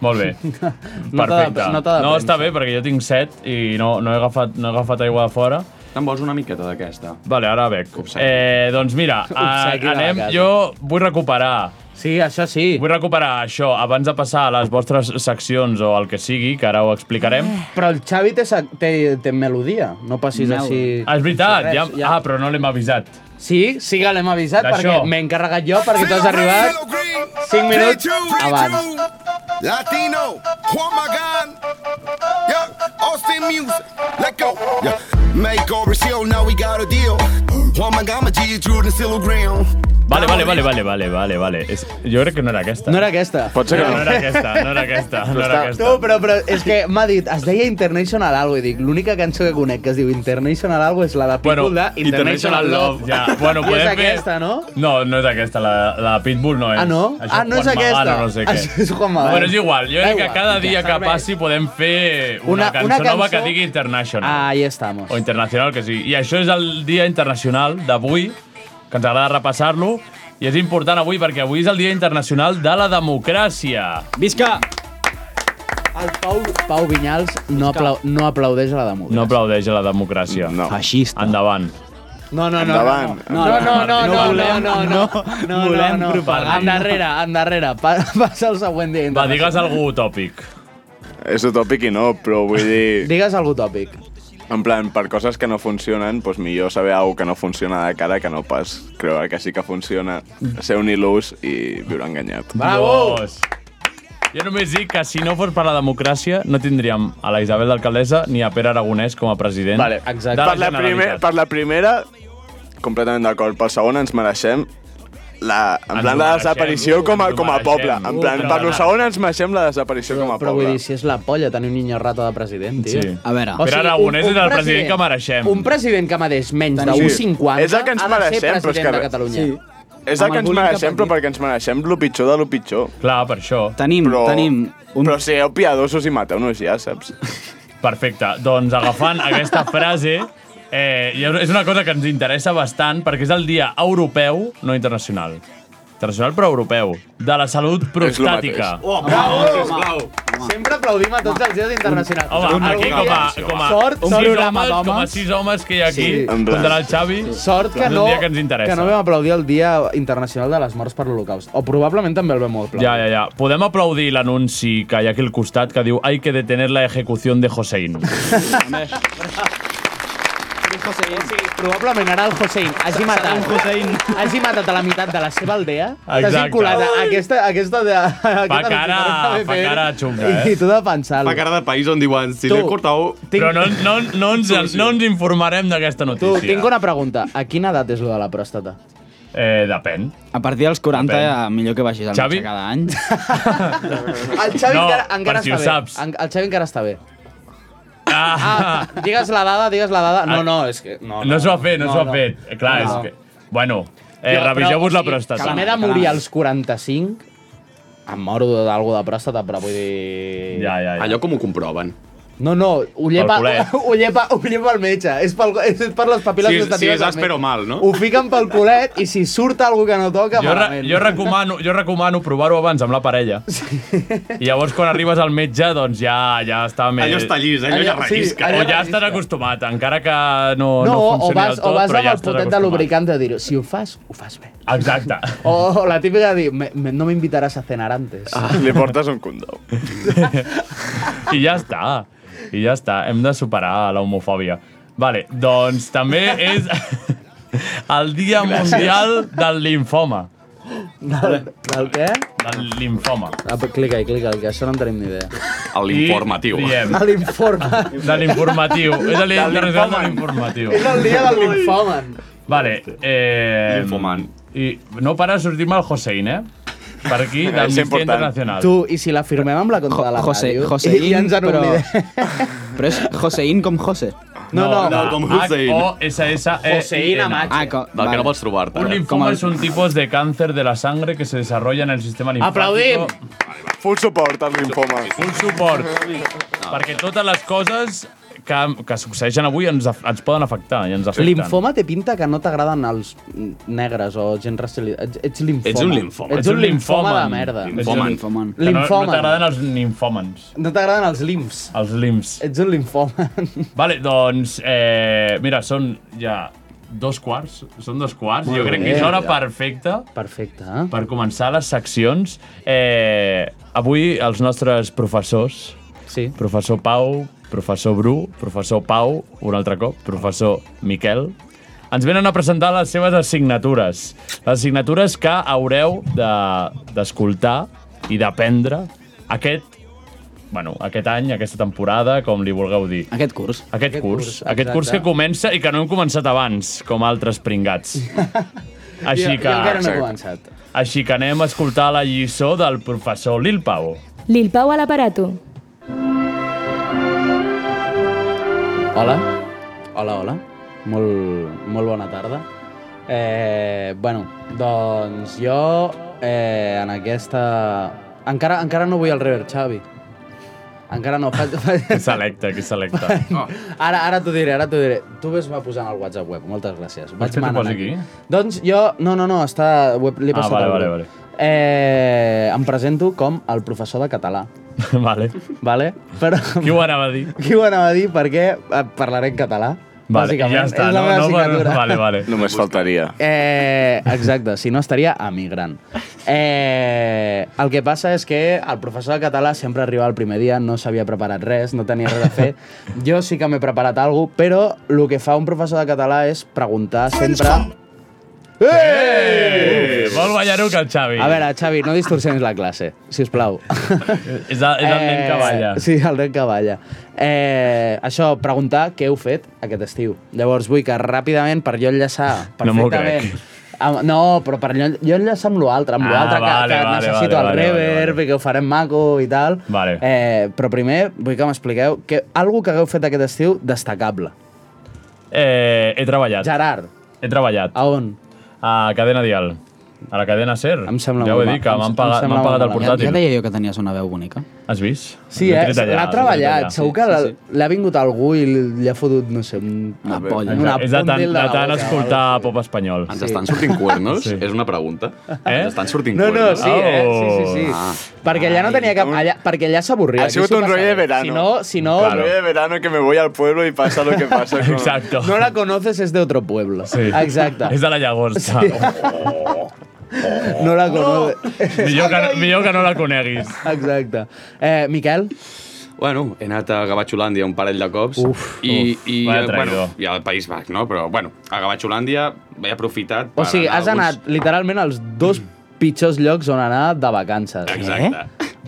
[SPEAKER 3] Molt bé.
[SPEAKER 7] Nota de-
[SPEAKER 3] Perfecte.
[SPEAKER 7] nota de
[SPEAKER 3] no,
[SPEAKER 7] premsa.
[SPEAKER 3] està bé, perquè jo tinc set i no, no, he, agafat, no he agafat aigua de fora.
[SPEAKER 11] Te'n vols una miqueta d'aquesta?
[SPEAKER 3] Vale, ara bec. Eh, doncs mira, a,
[SPEAKER 11] Obsequi de la
[SPEAKER 3] anem,
[SPEAKER 11] casa.
[SPEAKER 3] jo vull recuperar...
[SPEAKER 7] Sí, això sí.
[SPEAKER 3] Vull recuperar això abans de passar a les vostres seccions o el que sigui, que ara ho explicarem.
[SPEAKER 7] Però el Xavi té, sa- té, té melodia, no passis
[SPEAKER 3] Mel.
[SPEAKER 7] així...
[SPEAKER 3] Ah, és veritat,
[SPEAKER 7] res,
[SPEAKER 3] ja... ah, però no l'hem avisat.
[SPEAKER 7] Sí, sí que l'hem avisat
[SPEAKER 3] D'això.
[SPEAKER 7] perquè m'he encarregat jo perquè tu has arribat 5 minuts abans.
[SPEAKER 13] Latino, Juan Magán, yeah, Austin Music, let go. Yeah. Mexico, Brazil, now we got a deal. Juan Magán, my G, Jordan, Silo Graham.
[SPEAKER 3] Vale, vale, vale, vale, vale, vale, vale. És, jo crec que no era aquesta.
[SPEAKER 7] No era aquesta.
[SPEAKER 3] Pot ser que no. No era aquesta, no era aquesta, no era aquesta.
[SPEAKER 7] No, però, però és que m'ha dit, es deia International Algo, i dic, l'única cançó que conec que es diu International Algo és la de Pitbull
[SPEAKER 3] Bueno,
[SPEAKER 7] de
[SPEAKER 3] International
[SPEAKER 7] International,
[SPEAKER 3] Love.
[SPEAKER 7] Love.
[SPEAKER 3] Ja, bueno,
[SPEAKER 7] I és
[SPEAKER 3] podem fer-
[SPEAKER 7] aquesta, no?
[SPEAKER 3] No, no és aquesta, la, la de Pitbull no és.
[SPEAKER 7] Ah, no? Ah, no és
[SPEAKER 3] Juan
[SPEAKER 7] aquesta.
[SPEAKER 3] Magana, no sé què.
[SPEAKER 7] Això és Juan Magana.
[SPEAKER 3] Bueno, és igual, jo
[SPEAKER 7] Da
[SPEAKER 3] crec que
[SPEAKER 7] igual,
[SPEAKER 3] cada
[SPEAKER 7] ja
[SPEAKER 3] dia que
[SPEAKER 7] serveix.
[SPEAKER 3] passi podem fer una,
[SPEAKER 7] Una-
[SPEAKER 3] cançó,
[SPEAKER 7] una
[SPEAKER 3] nova que
[SPEAKER 7] cançó- Ah.
[SPEAKER 3] digui International.
[SPEAKER 7] Ahí estamos.
[SPEAKER 3] O internacional, que sigui. I això és el dia internacional d'avui, que ens agrada repassar-lo, i és important avui perquè avui és el dia internacional de la democràcia.
[SPEAKER 9] Visca!
[SPEAKER 7] El Pau, Pau Vinyals no, aplau, no aplaudeix a la democràcia.
[SPEAKER 3] No aplaudeix a la democràcia. No.
[SPEAKER 9] Feixista.
[SPEAKER 3] Endavant.
[SPEAKER 7] No, no, no.
[SPEAKER 3] Endavant.
[SPEAKER 7] No, no, no, no, no, no, no, no, no,
[SPEAKER 3] volem
[SPEAKER 7] no, no.
[SPEAKER 3] propaganda.
[SPEAKER 7] Endarrere, endarrere. Pa, passa el següent dia.
[SPEAKER 3] Va, digues algú utòpic.
[SPEAKER 8] És utòpic i no, però vull dir...
[SPEAKER 7] Digues algú tòpic.
[SPEAKER 8] En plan, per coses que no funcionen, doncs millor saber alguna que no funciona de cara que no pas creure que sí que funciona, ser un il·lús i viure enganyat.
[SPEAKER 3] Dios. Jo només dic que si no fos per la democràcia no tindríem a la Isabel d'alcaldessa ni a Pere Aragonès com a president vale,
[SPEAKER 8] Per
[SPEAKER 3] exacte. de la
[SPEAKER 8] la, primer,
[SPEAKER 3] Generalitat.
[SPEAKER 8] per la primera, completament d'acord. Per segon, ens mereixem la, en
[SPEAKER 3] Ens
[SPEAKER 8] plan, la
[SPEAKER 3] mereixem,
[SPEAKER 8] desaparició com a,
[SPEAKER 3] ens
[SPEAKER 8] com a
[SPEAKER 3] mereixem. Uh,
[SPEAKER 8] poble. En plan,
[SPEAKER 3] Però
[SPEAKER 8] per lo
[SPEAKER 3] la-
[SPEAKER 8] segon ens mereixem la desaparició com a
[SPEAKER 7] Però vull
[SPEAKER 8] poble.
[SPEAKER 7] dir, si és la polla tenir un niño rata de president, tio.
[SPEAKER 8] Sí.
[SPEAKER 9] A veure.
[SPEAKER 8] Pere Aragonès és el president que mereixem.
[SPEAKER 7] Un president que mereix menys
[SPEAKER 8] Sí.
[SPEAKER 7] d'un 50
[SPEAKER 8] És el que ens
[SPEAKER 7] ha de ser
[SPEAKER 8] mereixem, però és
[SPEAKER 7] president
[SPEAKER 8] que-
[SPEAKER 7] de Catalunya.
[SPEAKER 8] Sí. És el que ens mereixem, però perquè ens mereixem lo pitjor de lo pitjor.
[SPEAKER 3] Clar, per això.
[SPEAKER 9] Tenim,
[SPEAKER 8] però,
[SPEAKER 9] tenim
[SPEAKER 8] Un... Però sigueu piadosos i mateu-nos ja, saps?
[SPEAKER 3] Perfecte. Doncs agafant aquesta frase, eh, i és una cosa que ens interessa bastant perquè és el dia europeu, no internacional. Internacional però europeu. De la salut prostàtica.
[SPEAKER 7] Oh, bravo, sisplau. Sempre aplaudim a tots els dies internacionals.
[SPEAKER 3] Home, aquí com a, com a,
[SPEAKER 7] sort,
[SPEAKER 3] sis
[SPEAKER 7] sort,
[SPEAKER 3] homes, com a sis homes que hi ha aquí, sí. contra el Xavi,
[SPEAKER 7] Sort Doncs que
[SPEAKER 3] és
[SPEAKER 7] no,
[SPEAKER 3] un dia que ens interessa.
[SPEAKER 7] que no vam aplaudir el Dia Internacional de les Morts per l'Holocaust. O probablement també el vam aplaudir.
[SPEAKER 3] Ja, ja, ja. Podem aplaudir l'anunci que hi ha aquí al costat que diu «Hay que detener la ejecución de Hossein».
[SPEAKER 7] O sigui, probablement ara el Hossein hagi matat,
[SPEAKER 9] un Hossein.
[SPEAKER 7] hagi matat a la meitat de la seva aldea, t'has
[SPEAKER 3] Exacte.
[SPEAKER 7] vinculat a aquesta, a aquesta de... Fa
[SPEAKER 3] cara- fa cara xunga, eh?
[SPEAKER 7] I tu de pensar-lo.
[SPEAKER 11] Fa cara de país on diuen, si
[SPEAKER 7] Tu,
[SPEAKER 11] l'he cortat...
[SPEAKER 7] tinc-
[SPEAKER 3] Però no, no, no, ens, no ens informarem d'aquesta
[SPEAKER 7] Tu,
[SPEAKER 3] notícia.
[SPEAKER 7] tinc una pregunta. A quina edat és lo de la pròstata?
[SPEAKER 3] Eh, depèn.
[SPEAKER 9] A partir dels 40,
[SPEAKER 3] Depèn.
[SPEAKER 9] ja, millor que vagis al
[SPEAKER 3] Xavi?
[SPEAKER 9] metge cada any.
[SPEAKER 7] El Xavi
[SPEAKER 9] No,
[SPEAKER 7] encara,
[SPEAKER 9] per
[SPEAKER 7] encara
[SPEAKER 9] si ho
[SPEAKER 7] està bé.
[SPEAKER 9] saps.
[SPEAKER 7] En, el Xavi encara està bé. Ah, digues la dada, digues la dada. No, no, és que... No,
[SPEAKER 3] Ah, No, s'ho ha fet, no, s'ho ha fet. Eh, Clar,
[SPEAKER 7] No.
[SPEAKER 3] és que... Bueno, eh, reviseu-vos la pròstata.
[SPEAKER 7] Si m'he de morir als 45, em moro d'algú de pròstata, però vull dir...
[SPEAKER 3] Ja, ja, ja.
[SPEAKER 11] Allò com ho comproven?
[SPEAKER 7] No, no, ho llepa,
[SPEAKER 11] culet.
[SPEAKER 7] ho llepa, ho llepa el metge. És, pel, és per les papiles
[SPEAKER 11] Si és-
[SPEAKER 7] gustatives
[SPEAKER 11] si és
[SPEAKER 7] del
[SPEAKER 11] áspero
[SPEAKER 7] metge.
[SPEAKER 11] mal, no?
[SPEAKER 7] Ho fiquen pel culet i si surt algú que no toca,
[SPEAKER 3] Jo, re,
[SPEAKER 7] malament.
[SPEAKER 3] jo recomano, jo recomano provar-ho abans amb la parella. I llavors, quan arribes al metge, doncs ja ja està més...
[SPEAKER 11] Allò està llis, allò ja Allò- sí, rellisca. allò
[SPEAKER 3] o ja
[SPEAKER 11] rellisca.
[SPEAKER 3] estàs acostumat, encara que no,
[SPEAKER 7] No,
[SPEAKER 3] no,
[SPEAKER 7] o
[SPEAKER 3] funcioni
[SPEAKER 7] vas,
[SPEAKER 3] del tot,
[SPEAKER 7] o vas
[SPEAKER 3] però
[SPEAKER 7] amb
[SPEAKER 3] ja
[SPEAKER 7] el
[SPEAKER 3] estàs
[SPEAKER 7] potet de
[SPEAKER 3] acostumat.
[SPEAKER 7] lubricant de dir si ho fas, ho fas bé.
[SPEAKER 3] Exacte.
[SPEAKER 7] O, o la típica de dir, me, me, no m'invitaràs a cenar antes.
[SPEAKER 8] Ah, li portes un condó.
[SPEAKER 3] I ja està. I ja està. Hem de superar la homofòbia. Vale, doncs també és... El Dia
[SPEAKER 7] Gràcies.
[SPEAKER 3] Mundial del Linfoma.
[SPEAKER 7] Del, del què?
[SPEAKER 3] Del linfoma.
[SPEAKER 7] Ah, clica-hi, clica-hi, que això no en tenim ni idea.
[SPEAKER 11] A l'informatiu.
[SPEAKER 3] I diem-
[SPEAKER 7] A l'informe.
[SPEAKER 3] De l'informatiu. És el dia
[SPEAKER 7] Del
[SPEAKER 3] internacional de
[SPEAKER 7] linfoman.
[SPEAKER 3] l'informatiu.
[SPEAKER 7] És el dia del linfoman.
[SPEAKER 3] Vale. Eh,
[SPEAKER 11] Linfoman.
[SPEAKER 3] I no para de sortir mal Hossein, eh? Per aquí,
[SPEAKER 7] És
[SPEAKER 3] d'Amnistia
[SPEAKER 7] important.
[SPEAKER 3] Internacional.
[SPEAKER 7] Tu, i si la firmem amb la contra de la
[SPEAKER 9] José,
[SPEAKER 7] ràdio?
[SPEAKER 9] Joseín,
[SPEAKER 7] I ja ens en
[SPEAKER 9] però-
[SPEAKER 7] oblidem.
[SPEAKER 9] Però és Joseín com José.
[SPEAKER 7] No, no, no, com
[SPEAKER 3] Hossein. H-O-S-S-E-I-N.
[SPEAKER 7] Hossein Amacho.
[SPEAKER 9] Ah, co-
[SPEAKER 11] Del que no
[SPEAKER 9] vale.
[SPEAKER 11] pots trobar-te.
[SPEAKER 3] Un linfoma es un tipo de cáncer de la sangre que se desarrolla en el sistema linfático.
[SPEAKER 11] Aplaudim.
[SPEAKER 8] Full support al linfoma.
[SPEAKER 3] Full support. Perquè totes les coses que, que succeeixen avui ens, af- ens poden afectar i ens afecten.
[SPEAKER 7] Linfoma té pinta que no t'agraden els negres o gent racialitzada. Ets, ets linfoma.
[SPEAKER 3] Ets un linfoma.
[SPEAKER 7] Ets un linfoma de merda.
[SPEAKER 3] Linfoman. Que no-
[SPEAKER 7] Linfoma.
[SPEAKER 3] No t'agraden els ninfòmans.
[SPEAKER 7] No t'agraden els limfs.
[SPEAKER 3] Els limfs.
[SPEAKER 7] Ets un linfoma.
[SPEAKER 3] Vale, doncs, eh, mira, són ja dos quarts, són dos quarts.
[SPEAKER 7] Molt
[SPEAKER 3] jo crec
[SPEAKER 7] bé.
[SPEAKER 3] que és hora
[SPEAKER 7] Ja.
[SPEAKER 3] perfecta
[SPEAKER 7] Perfecte. eh?
[SPEAKER 3] per començar les seccions. Eh, avui els nostres professors,
[SPEAKER 7] sí.
[SPEAKER 3] professor Pau, professor Bru, professor Pau, un altre cop, professor Miquel, ens venen a presentar les seves assignatures. Les assignatures que haureu de- d'escoltar de, i d'aprendre aquest bueno, aquest any, aquesta temporada, com li vulgueu dir.
[SPEAKER 9] Aquest curs.
[SPEAKER 3] Aquest, aquest curs.
[SPEAKER 7] curs,
[SPEAKER 3] curs aquest curs que
[SPEAKER 7] exacte.
[SPEAKER 3] comença i que no hem començat abans, com altres pringats. Així
[SPEAKER 7] Jo-
[SPEAKER 3] que...
[SPEAKER 7] jo encara no he començat.
[SPEAKER 3] Així que anem a escoltar la lliçó del professor Lil Pau.
[SPEAKER 1] Lil Pau a l'aparato.
[SPEAKER 7] Hola. Hola, hola. Molt, molt bona tarda. Eh, bueno, doncs jo eh, en aquesta... Encara, encara no vull el River Xavi. Encara no. Faig, faig...
[SPEAKER 3] Que selecte, que selecte.
[SPEAKER 7] Ara, ara t'ho diré, ara t'ho diré. Tu ves va posant al WhatsApp web, moltes gràcies.
[SPEAKER 3] Vols que t'ho
[SPEAKER 7] manant
[SPEAKER 3] posi aquí?
[SPEAKER 7] Doncs jo... No, no, no, està... Web, l'he
[SPEAKER 3] Ah,
[SPEAKER 7] passat
[SPEAKER 3] vale,
[SPEAKER 7] al
[SPEAKER 3] vale,
[SPEAKER 7] grup.
[SPEAKER 3] vale.
[SPEAKER 7] Eh, em presento com el professor de català.
[SPEAKER 3] vale.
[SPEAKER 7] Vale? Però...
[SPEAKER 3] Qui ho anava a dir?
[SPEAKER 7] Qui ho anava a dir? Perquè eh, parlaré en català.
[SPEAKER 3] Vale,
[SPEAKER 7] bàsicament.
[SPEAKER 3] ja està,
[SPEAKER 7] és la
[SPEAKER 3] no?
[SPEAKER 7] meva
[SPEAKER 3] No, però-
[SPEAKER 7] assignatura.
[SPEAKER 3] vale, vale.
[SPEAKER 8] Només faltaria.
[SPEAKER 7] Eh, exacte, si no estaria emigrant. Eh, el que passa és que el professor de català sempre arribava el primer dia, no s'havia preparat res, no tenia res a fer. Jo sí que m'he preparat alguna cosa, però el que fa un professor de català és preguntar sempre...
[SPEAKER 3] Eh! Vol ballar-ho que el Xavi.
[SPEAKER 7] A veure, Xavi, no distorsionis la classe, si us plau.
[SPEAKER 3] És el, és Ah, el nen que balla.
[SPEAKER 7] eh, Sí, el nen que balla. Eh, això, preguntar què heu fet aquest estiu. Llavors vull que ràpidament, per jo enllaçar
[SPEAKER 3] No m'ho
[SPEAKER 7] perfectament... amb, no, però per jo, jo enllaçar amb l'altre, amb
[SPEAKER 3] Ah,
[SPEAKER 7] l'altre que,
[SPEAKER 3] vale,
[SPEAKER 7] que
[SPEAKER 3] vale,
[SPEAKER 7] necessito
[SPEAKER 3] vale,
[SPEAKER 7] el
[SPEAKER 3] vale,
[SPEAKER 7] reverb i que ho farem maco i tal.
[SPEAKER 3] Vale.
[SPEAKER 7] Eh, però primer vull que m'expliqueu que, algo que hagueu fet aquest estiu destacable.
[SPEAKER 3] Eh, he treballat.
[SPEAKER 7] Gerard.
[SPEAKER 3] He treballat.
[SPEAKER 7] A on?
[SPEAKER 3] A Cadena Dial. A la cadena SER. Em
[SPEAKER 7] sembla
[SPEAKER 3] ja ho he
[SPEAKER 7] molt
[SPEAKER 3] dit, que
[SPEAKER 7] mal. Em-
[SPEAKER 3] m'han
[SPEAKER 7] em
[SPEAKER 3] pagat,
[SPEAKER 7] sembla
[SPEAKER 3] m'han pagat el
[SPEAKER 7] molt malament.
[SPEAKER 3] portàtil.
[SPEAKER 7] Ja
[SPEAKER 9] deia jo que tenies una veu bonica.
[SPEAKER 3] Has vist?
[SPEAKER 7] Sí,
[SPEAKER 3] L'he
[SPEAKER 7] eh?
[SPEAKER 3] tret allà,
[SPEAKER 7] L'ha
[SPEAKER 3] l'he tret
[SPEAKER 7] treballat.
[SPEAKER 3] allà.
[SPEAKER 7] Segur que l'ha- l'ha vingut algú i li ha fotut, no sé, un- una polla.
[SPEAKER 3] Exacte,
[SPEAKER 7] Una
[SPEAKER 3] és de tant,
[SPEAKER 7] puntil
[SPEAKER 3] de
[SPEAKER 7] la
[SPEAKER 3] tant
[SPEAKER 7] boca.
[SPEAKER 3] escoltar pop espanyol.
[SPEAKER 11] Ens estan sortint cuernos? Sí. És una pregunta.
[SPEAKER 3] Eh?
[SPEAKER 11] Ens estan sortint
[SPEAKER 7] No, no,
[SPEAKER 11] cuernos?
[SPEAKER 7] sí, eh? Sí, sí, sí.
[SPEAKER 8] Oh.
[SPEAKER 11] Ah.
[SPEAKER 7] Perquè allà no tenia cap... Allà, perquè allà s'avorria.
[SPEAKER 8] Ha
[SPEAKER 7] aquí
[SPEAKER 8] sigut
[SPEAKER 7] s'ho
[SPEAKER 8] un
[SPEAKER 7] passava
[SPEAKER 8] rollo de
[SPEAKER 7] bé.
[SPEAKER 8] verano.
[SPEAKER 7] Si no, si no,
[SPEAKER 8] Un rollo de verano que me voy al pueblo y pasa lo que pasa. Con...
[SPEAKER 3] Exacto.
[SPEAKER 7] no la conoces es de otro pueblo.
[SPEAKER 3] Sí.
[SPEAKER 7] Exacte.
[SPEAKER 3] És de la llagosta.
[SPEAKER 7] Sí. No
[SPEAKER 8] Oh.
[SPEAKER 7] la conoces.
[SPEAKER 3] Millor, que, no- millor que no la coneguis.
[SPEAKER 7] Exacte. Eh, Miquel?
[SPEAKER 11] Bueno, he anat a Gavatxolàndia un parell de cops. Uf, I,
[SPEAKER 3] uf,
[SPEAKER 11] i,
[SPEAKER 3] vaya
[SPEAKER 11] eh, bueno,
[SPEAKER 3] traïdor.
[SPEAKER 11] I al País Baix, no? Però, bueno, a Gavatxolàndia he aprofitat per
[SPEAKER 7] O sigui, has
[SPEAKER 11] anar a alguns-
[SPEAKER 7] anat literalment als
[SPEAKER 8] Mm.
[SPEAKER 7] dos pitjors llocs on anar de vacances.
[SPEAKER 11] Exacte.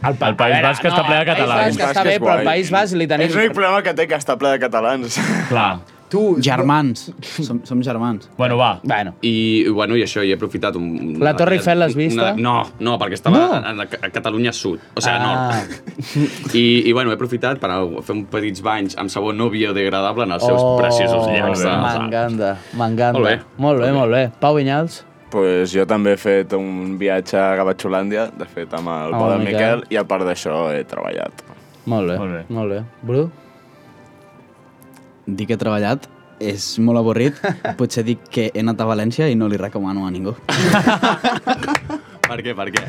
[SPEAKER 7] El,
[SPEAKER 3] El País Basc està ple de
[SPEAKER 7] País
[SPEAKER 3] catalans.
[SPEAKER 7] Basc està bé, però el País Basc li tenim...
[SPEAKER 8] És l'únic problema que té que està ple de catalans.
[SPEAKER 3] Clar.
[SPEAKER 7] Tu,
[SPEAKER 9] Germans. Som, som germans.
[SPEAKER 3] Bueno, va.
[SPEAKER 7] Bueno.
[SPEAKER 11] I, bueno, i això, i he aprofitat un...
[SPEAKER 9] La Torre Eiffel l'has vista?
[SPEAKER 11] Una, no, no, perquè estava
[SPEAKER 9] No.
[SPEAKER 11] no. A, a, a Catalunya Sud, o sigui, ah.
[SPEAKER 7] Ah.
[SPEAKER 11] nord. I, I, bueno, he aprofitat per a- fer uns petits banys amb sabó no biodegradable en els seus
[SPEAKER 7] Oh,
[SPEAKER 11] preciosos llacs. de-
[SPEAKER 7] M'encanta, m'encanta.
[SPEAKER 11] Molt bé.
[SPEAKER 7] Molt bé, molt bé. Pau Vinyals?
[SPEAKER 8] pues jo també he fet un viatge a Gavatxolàndia, de fet amb el
[SPEAKER 3] Ah,
[SPEAKER 7] Amb
[SPEAKER 8] Pau
[SPEAKER 7] el
[SPEAKER 8] de Miquel,
[SPEAKER 7] Miquel.
[SPEAKER 8] i a part d'això he treballat.
[SPEAKER 7] Molt bé,
[SPEAKER 3] Molt bé.
[SPEAKER 7] molt bé. Bru?
[SPEAKER 9] Dir que he treballat és molt avorrit. Potser dic que he anat a València i no li recomano a ningú.
[SPEAKER 11] Ah, Per què, per què?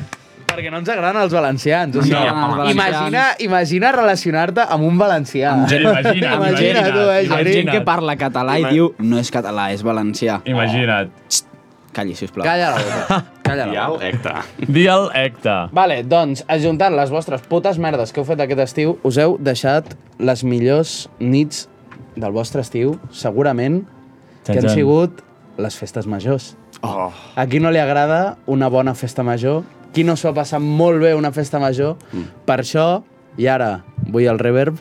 [SPEAKER 7] Perquè no ens agraden els valencians. O
[SPEAKER 9] No,
[SPEAKER 7] sigui,
[SPEAKER 9] els valencians.
[SPEAKER 7] imagina, imagina relacionar-te amb un valencià.
[SPEAKER 9] Amb gent-
[SPEAKER 3] imagina,
[SPEAKER 7] imagina, tu, eh,
[SPEAKER 9] Hi ha
[SPEAKER 7] Geri?
[SPEAKER 9] gent que parla català i
[SPEAKER 7] Ima-
[SPEAKER 9] diu no és català, és valencià.
[SPEAKER 3] Imagina't.
[SPEAKER 9] Calli, sisplau.
[SPEAKER 7] Calla la boca. Calla la boca.
[SPEAKER 11] Dial Ecta.
[SPEAKER 3] Dial Ecta.
[SPEAKER 7] Vale, doncs, ajuntant les vostres putes merdes que heu fet aquest estiu, us heu deixat les millors nits del vostre estiu, segurament,
[SPEAKER 3] Txan,
[SPEAKER 7] que han
[SPEAKER 3] txan.
[SPEAKER 7] sigut les festes majors. Oh. A qui no li agrada una bona festa major? Qui no s'ho ha passat molt bé una festa major? Mm. Per això, i ara vull el reverb,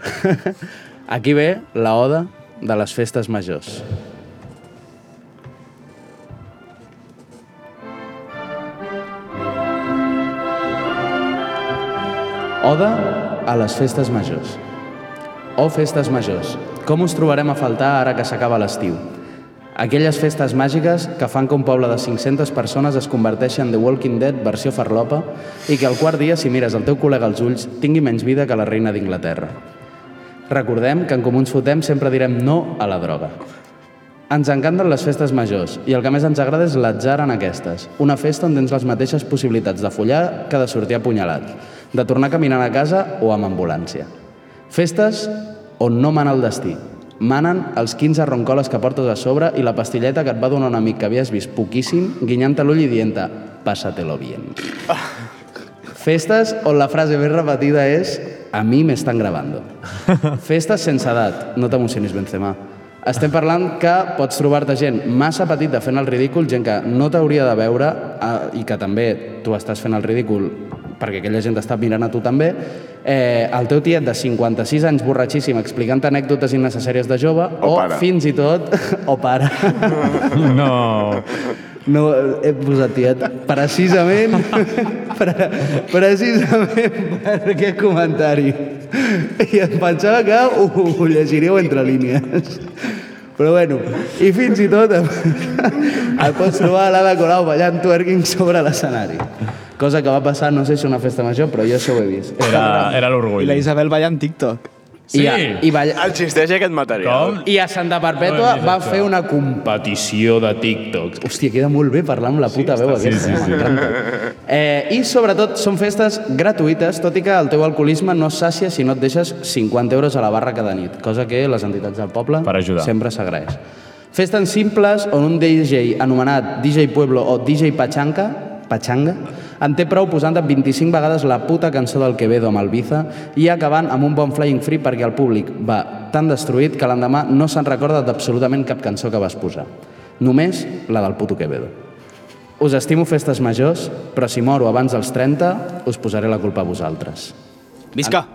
[SPEAKER 7] aquí ve la oda de les festes majors. Oda a les festes majors. O festes majors, com us trobarem a faltar ara que s'acaba l'estiu? Aquelles festes màgiques que fan que un poble de 500 persones es converteixi en The Walking Dead versió farlopa i que al quart dia, si mires el teu col·lega als ulls, tingui menys vida que la reina d'Inglaterra. Recordem que en Comuns Fotem sempre direm no a la droga. Ens encanten les festes majors i el que més ens agrada és l'atzar en aquestes. Una festa on tens les mateixes possibilitats de follar que de sortir apunyalat, de tornar caminant a casa o amb ambulància. Festes on no mana el destí. Manen els 15 roncoles que portes a sobre i la pastilleta que et va donar un amic que havies vist poquíssim, guinyant-te l'ull i dient-te «pásatelo bien». Festes on la frase més repetida és «a mi m'estan gravando». Festes sense edat. No t'emocionis, Benzema. Estem parlant que pots trobar-te gent massa petita fent el ridícul, gent que no t'hauria de veure eh, i que també tu estàs fent el ridícul perquè aquella gent està mirant a tu també, eh, el teu tiet de 56 anys borratxíssim explicant anècdotes innecessàries de jove o,
[SPEAKER 14] pare.
[SPEAKER 7] fins i tot... o pare.
[SPEAKER 3] No.
[SPEAKER 7] No, he posat tiet precisament, pre, precisament per aquest comentari. I em pensava que ho, ho llegiríeu entre línies. Però bueno, i fins i tot em, et pots trobar a l'Ada Colau ballant twerking sobre l'escenari. Cosa que va passar, no sé si a una festa major, però jo això ho he vist.
[SPEAKER 3] Era, era l'orgull.
[SPEAKER 7] I la Isabel ballant TikTok.
[SPEAKER 8] Sí.
[SPEAKER 7] I, a, i, balla...
[SPEAKER 8] Existeix aquest material.
[SPEAKER 7] I a Santa Perpètua
[SPEAKER 8] No he
[SPEAKER 7] va
[SPEAKER 8] vist
[SPEAKER 7] fer una competició de TikToks. Hòstia, queda molt bé parlar amb la puta veu
[SPEAKER 8] Sí,
[SPEAKER 7] aquesta.
[SPEAKER 8] sí, sí.
[SPEAKER 7] m'encanta. Eh, I sobretot són festes gratuïtes, tot i que el teu alcoholisme no es sàcia si no et deixes 50 euros a la barra cada nit, cosa que les entitats del poble
[SPEAKER 3] Per ajudar.
[SPEAKER 7] sempre s'agraeix. Festes simples on un DJ anomenat DJ Pueblo o DJ Pachanca, Pachanga, en té prou posant 25 vegades la puta cançó del Quevedo amb el Biza i acabant amb un bon flying free perquè el públic va tan destruït que l'endemà no se'n recorda d'absolutament cap cançó que vas posar. Només la del puto Quevedo. Us estimo festes majors, però si moro abans dels 30, us posaré la culpa a vosaltres.
[SPEAKER 9] Visca!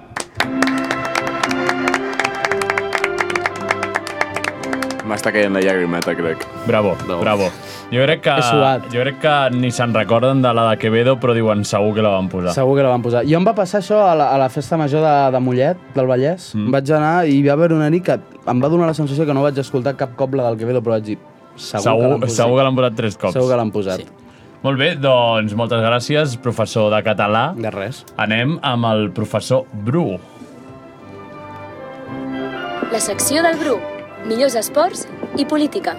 [SPEAKER 8] M'està caient la llàgrimeta, crec.
[SPEAKER 3] Bravo, no. bravo. Jo crec que,
[SPEAKER 7] He suat.
[SPEAKER 3] jo crec que ni se'n recorden de la de Quevedo, però diuen segur que la van posar.
[SPEAKER 7] Segur que la van posar. Jo em va passar això a la, a la festa major de, de Mollet, del Vallès. Mm. Vaig anar i hi va haver una nit que em va donar la sensació que no vaig escoltar cap cop la del Quevedo, però vaig dir, segur, que l'han
[SPEAKER 3] segur,
[SPEAKER 7] posat.
[SPEAKER 3] segur que l'han posat tres cops.
[SPEAKER 7] Segur que l'han posat. Sí.
[SPEAKER 3] Molt bé, doncs moltes gràcies, professor de català.
[SPEAKER 7] De res.
[SPEAKER 3] Anem amb el professor Bru.
[SPEAKER 6] La secció del Bru. Millors esports i política.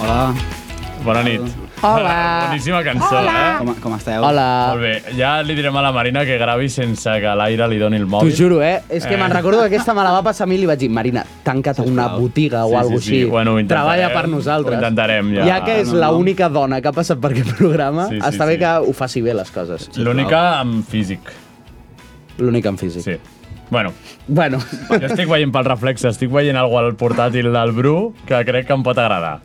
[SPEAKER 9] Hola.
[SPEAKER 3] Bona nit.
[SPEAKER 12] Hola.
[SPEAKER 3] Boníssima cançó,
[SPEAKER 12] Hola.
[SPEAKER 3] eh?
[SPEAKER 9] Com, com esteu?
[SPEAKER 3] Molt bé, ja li direm a la Marina que gravi sense que l'aire li doni el mòbil.
[SPEAKER 7] T'ho juro, eh? És que
[SPEAKER 3] Eh.
[SPEAKER 7] me'n recordo que aquesta me la va passar a mi i li vaig dir, Marina, tanca't a una botiga o
[SPEAKER 3] Sí,
[SPEAKER 7] alguna
[SPEAKER 3] sí, sí.
[SPEAKER 7] així.
[SPEAKER 3] Bueno, ho intentarem.
[SPEAKER 7] Treballa per nosaltres.
[SPEAKER 3] Ho intentarem, ja.
[SPEAKER 7] Ja que és
[SPEAKER 3] No, no.
[SPEAKER 7] l'única dona que ha passat per aquest programa,
[SPEAKER 3] Sí,
[SPEAKER 7] sí,
[SPEAKER 3] sí,
[SPEAKER 7] sí, està bé
[SPEAKER 3] sí.
[SPEAKER 7] que ho faci bé, les coses.
[SPEAKER 3] L'única amb físic.
[SPEAKER 7] L'única en físic.
[SPEAKER 3] Sí. Bueno,
[SPEAKER 7] bueno.
[SPEAKER 3] jo estic veient pel reflexe, estic veient alguna al portàtil del Bru que crec que em pot agradar.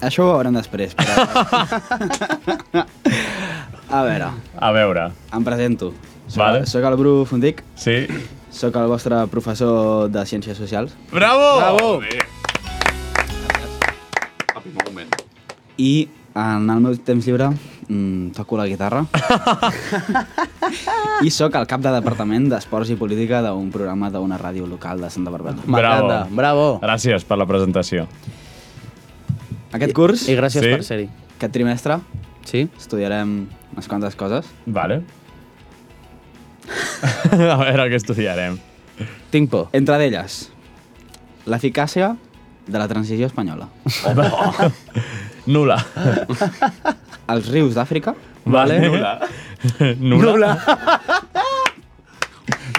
[SPEAKER 9] Això ho veurem després. Però... a veure,
[SPEAKER 3] A veure.
[SPEAKER 9] em presento. Soc,
[SPEAKER 3] Vale.
[SPEAKER 9] soc el Bru Fundic.
[SPEAKER 3] Sí.
[SPEAKER 9] Soc el vostre professor de Ciències Socials.
[SPEAKER 3] Bravo!
[SPEAKER 9] Bravo!
[SPEAKER 3] Bé.
[SPEAKER 9] I en el meu temps llibre mm, toco la guitarra. I sóc el cap de departament d'Esports i Política d'un programa d'una ràdio local de Santa Barbeta.
[SPEAKER 3] Bravo.
[SPEAKER 7] bravo.
[SPEAKER 3] Gràcies per la presentació.
[SPEAKER 9] Aquest curs...
[SPEAKER 7] I gràcies Sí. per ser-hi.
[SPEAKER 9] Aquest trimestre
[SPEAKER 7] sí.
[SPEAKER 9] estudiarem unes quantes coses.
[SPEAKER 3] Vale. a veure què estudiarem.
[SPEAKER 7] Tinc por.
[SPEAKER 9] Entre d'elles, l'eficàcia de la transició espanyola.
[SPEAKER 3] Nula.
[SPEAKER 9] Els rius d'Àfrica.
[SPEAKER 3] Vale.
[SPEAKER 9] Nula.
[SPEAKER 3] Nula. Nula.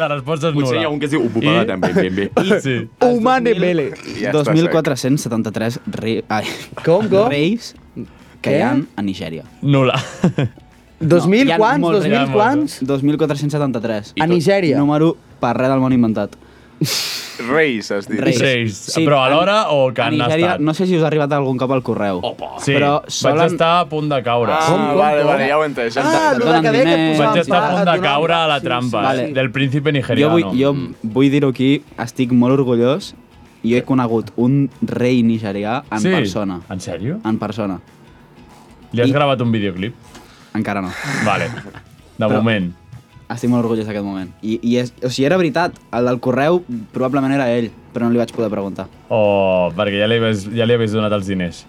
[SPEAKER 3] La resposta és nula.
[SPEAKER 11] Potser hi ha un que es diu Upupada, també, ben bé.
[SPEAKER 3] Sí.
[SPEAKER 7] Humane Mele.
[SPEAKER 11] Ja està
[SPEAKER 9] 2.473 ri... Ai,
[SPEAKER 7] com, com?
[SPEAKER 9] reis que
[SPEAKER 7] Què?
[SPEAKER 9] hi ha a Nigèria.
[SPEAKER 3] Nula.
[SPEAKER 7] 2000
[SPEAKER 9] hi ha
[SPEAKER 7] quants?
[SPEAKER 9] molts
[SPEAKER 7] 2000
[SPEAKER 9] rècords.
[SPEAKER 7] quants?
[SPEAKER 9] 2.473.
[SPEAKER 7] A Nigèria.
[SPEAKER 9] Número per res del món inventat.
[SPEAKER 8] Reis, has dit.
[SPEAKER 3] Reis. Però alhora o que
[SPEAKER 9] a
[SPEAKER 3] han
[SPEAKER 9] Nigèria,
[SPEAKER 3] estat?
[SPEAKER 9] No sé si us ha arribat algun cop al correu. Opa.
[SPEAKER 3] Sí,
[SPEAKER 9] però
[SPEAKER 3] vaig
[SPEAKER 9] solen...
[SPEAKER 3] estar a punt de caure.
[SPEAKER 8] Ah,
[SPEAKER 9] Com, com,
[SPEAKER 8] vale,
[SPEAKER 9] com?
[SPEAKER 8] vale, ja ho he entès. Ja
[SPEAKER 9] Ah,
[SPEAKER 8] entès.
[SPEAKER 9] lo de Donen que deia que diners. posaven
[SPEAKER 3] Vaig estar a
[SPEAKER 9] pa-
[SPEAKER 3] punt de
[SPEAKER 9] donant-
[SPEAKER 3] caure a la
[SPEAKER 9] sí,
[SPEAKER 3] trampa
[SPEAKER 9] sí,
[SPEAKER 3] vale.
[SPEAKER 9] sí.
[SPEAKER 3] del príncipe
[SPEAKER 9] Jo
[SPEAKER 3] nigeriano.
[SPEAKER 9] vull, jo
[SPEAKER 7] Mm.
[SPEAKER 9] vull dir-ho aquí, estic molt orgullós. Jo he conegut un rei nigerià en
[SPEAKER 3] Sí?
[SPEAKER 9] persona.
[SPEAKER 3] En sèrio?
[SPEAKER 9] En persona.
[SPEAKER 3] Li has gravat un videoclip?
[SPEAKER 9] Encara no.
[SPEAKER 3] Vale. De moment.
[SPEAKER 9] Estic molt orgullós d'aquest moment. I, i és, o sigui, era veritat, el del correu probablement era ell, però no li vaig poder preguntar.
[SPEAKER 3] Oh, perquè ja li, havies, ja li havies donat els diners.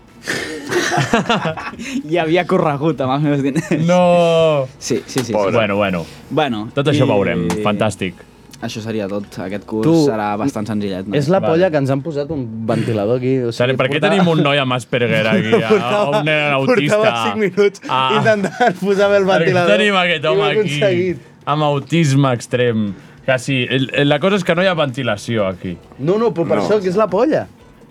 [SPEAKER 9] I havia corregut amb els meus diners.
[SPEAKER 3] No!
[SPEAKER 9] Sí, sí, sí.
[SPEAKER 3] Pobre.
[SPEAKER 9] sí.
[SPEAKER 3] Bueno, bueno.
[SPEAKER 9] Bueno.
[SPEAKER 3] Tot això veurem. Fantàstic.
[SPEAKER 9] Això seria tot. Aquest curs
[SPEAKER 7] Tu-
[SPEAKER 9] serà bastant senzillet.
[SPEAKER 7] És la polla que ens han posat un ventilador aquí. O sigui,
[SPEAKER 3] Per què tenim un noi amb Asperger aquí? A, a un nen
[SPEAKER 7] Portava
[SPEAKER 3] autista?
[SPEAKER 7] 5 minuts ah.
[SPEAKER 3] Ah.
[SPEAKER 7] intentant posar bé el
[SPEAKER 3] Per què
[SPEAKER 7] ventilador.
[SPEAKER 3] tenim aquest home
[SPEAKER 7] I ho he
[SPEAKER 3] aquí?
[SPEAKER 7] aconseguit.
[SPEAKER 3] Amb autisme extrem. Que sí, el- el- la cosa és que no hi ha ventilació aquí.
[SPEAKER 7] No, no, però per
[SPEAKER 3] No.
[SPEAKER 7] això que és la polla.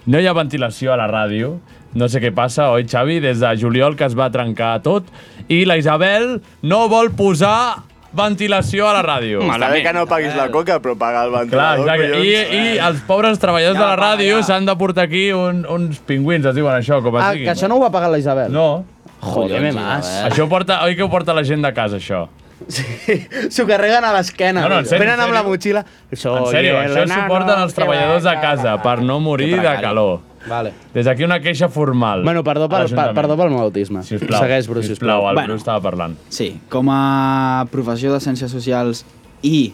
[SPEAKER 3] No hi ha ventilació a la ràdio. No sé què passa, oi, Xavi? Des de juliol que es va trencar tot. I la Isabel no vol posar ventilació a la ràdio.
[SPEAKER 8] Està bé que no paguis la coca, però paga el
[SPEAKER 3] Clar,
[SPEAKER 8] ventilador,
[SPEAKER 3] exacte. I, I els pobres treballadors
[SPEAKER 8] Ja,
[SPEAKER 3] de la
[SPEAKER 8] va,
[SPEAKER 3] ràdio s'han de portar aquí un, uns pingüins, es diuen això, com es
[SPEAKER 7] Ah,
[SPEAKER 3] digui.
[SPEAKER 7] que això no ho va pagar la Isabel?
[SPEAKER 3] No.
[SPEAKER 7] Joder, eh. me mas.
[SPEAKER 3] Això ho porta, oi que ho porta la gent de casa, això?
[SPEAKER 7] S'ho carreguen a l'esquena.
[SPEAKER 3] No, no, en sèrio,
[SPEAKER 7] Venen
[SPEAKER 3] en
[SPEAKER 7] amb la
[SPEAKER 3] sèrio.
[SPEAKER 7] motxilla. Això,
[SPEAKER 3] en sèrio, això s'ho porten els treballadors de casa per no morir de calor.
[SPEAKER 7] Vale.
[SPEAKER 3] Des d'aquí una queixa formal.
[SPEAKER 7] Bueno, perdó pel-
[SPEAKER 3] a
[SPEAKER 7] perdó pel meu autisme.
[SPEAKER 3] Sisplau.
[SPEAKER 7] Segueix, Bru, sisplau.
[SPEAKER 3] Sisplau, el
[SPEAKER 7] Bueno.
[SPEAKER 3] Bru estava parlant.
[SPEAKER 9] Sí, com a professió de Ciències Socials i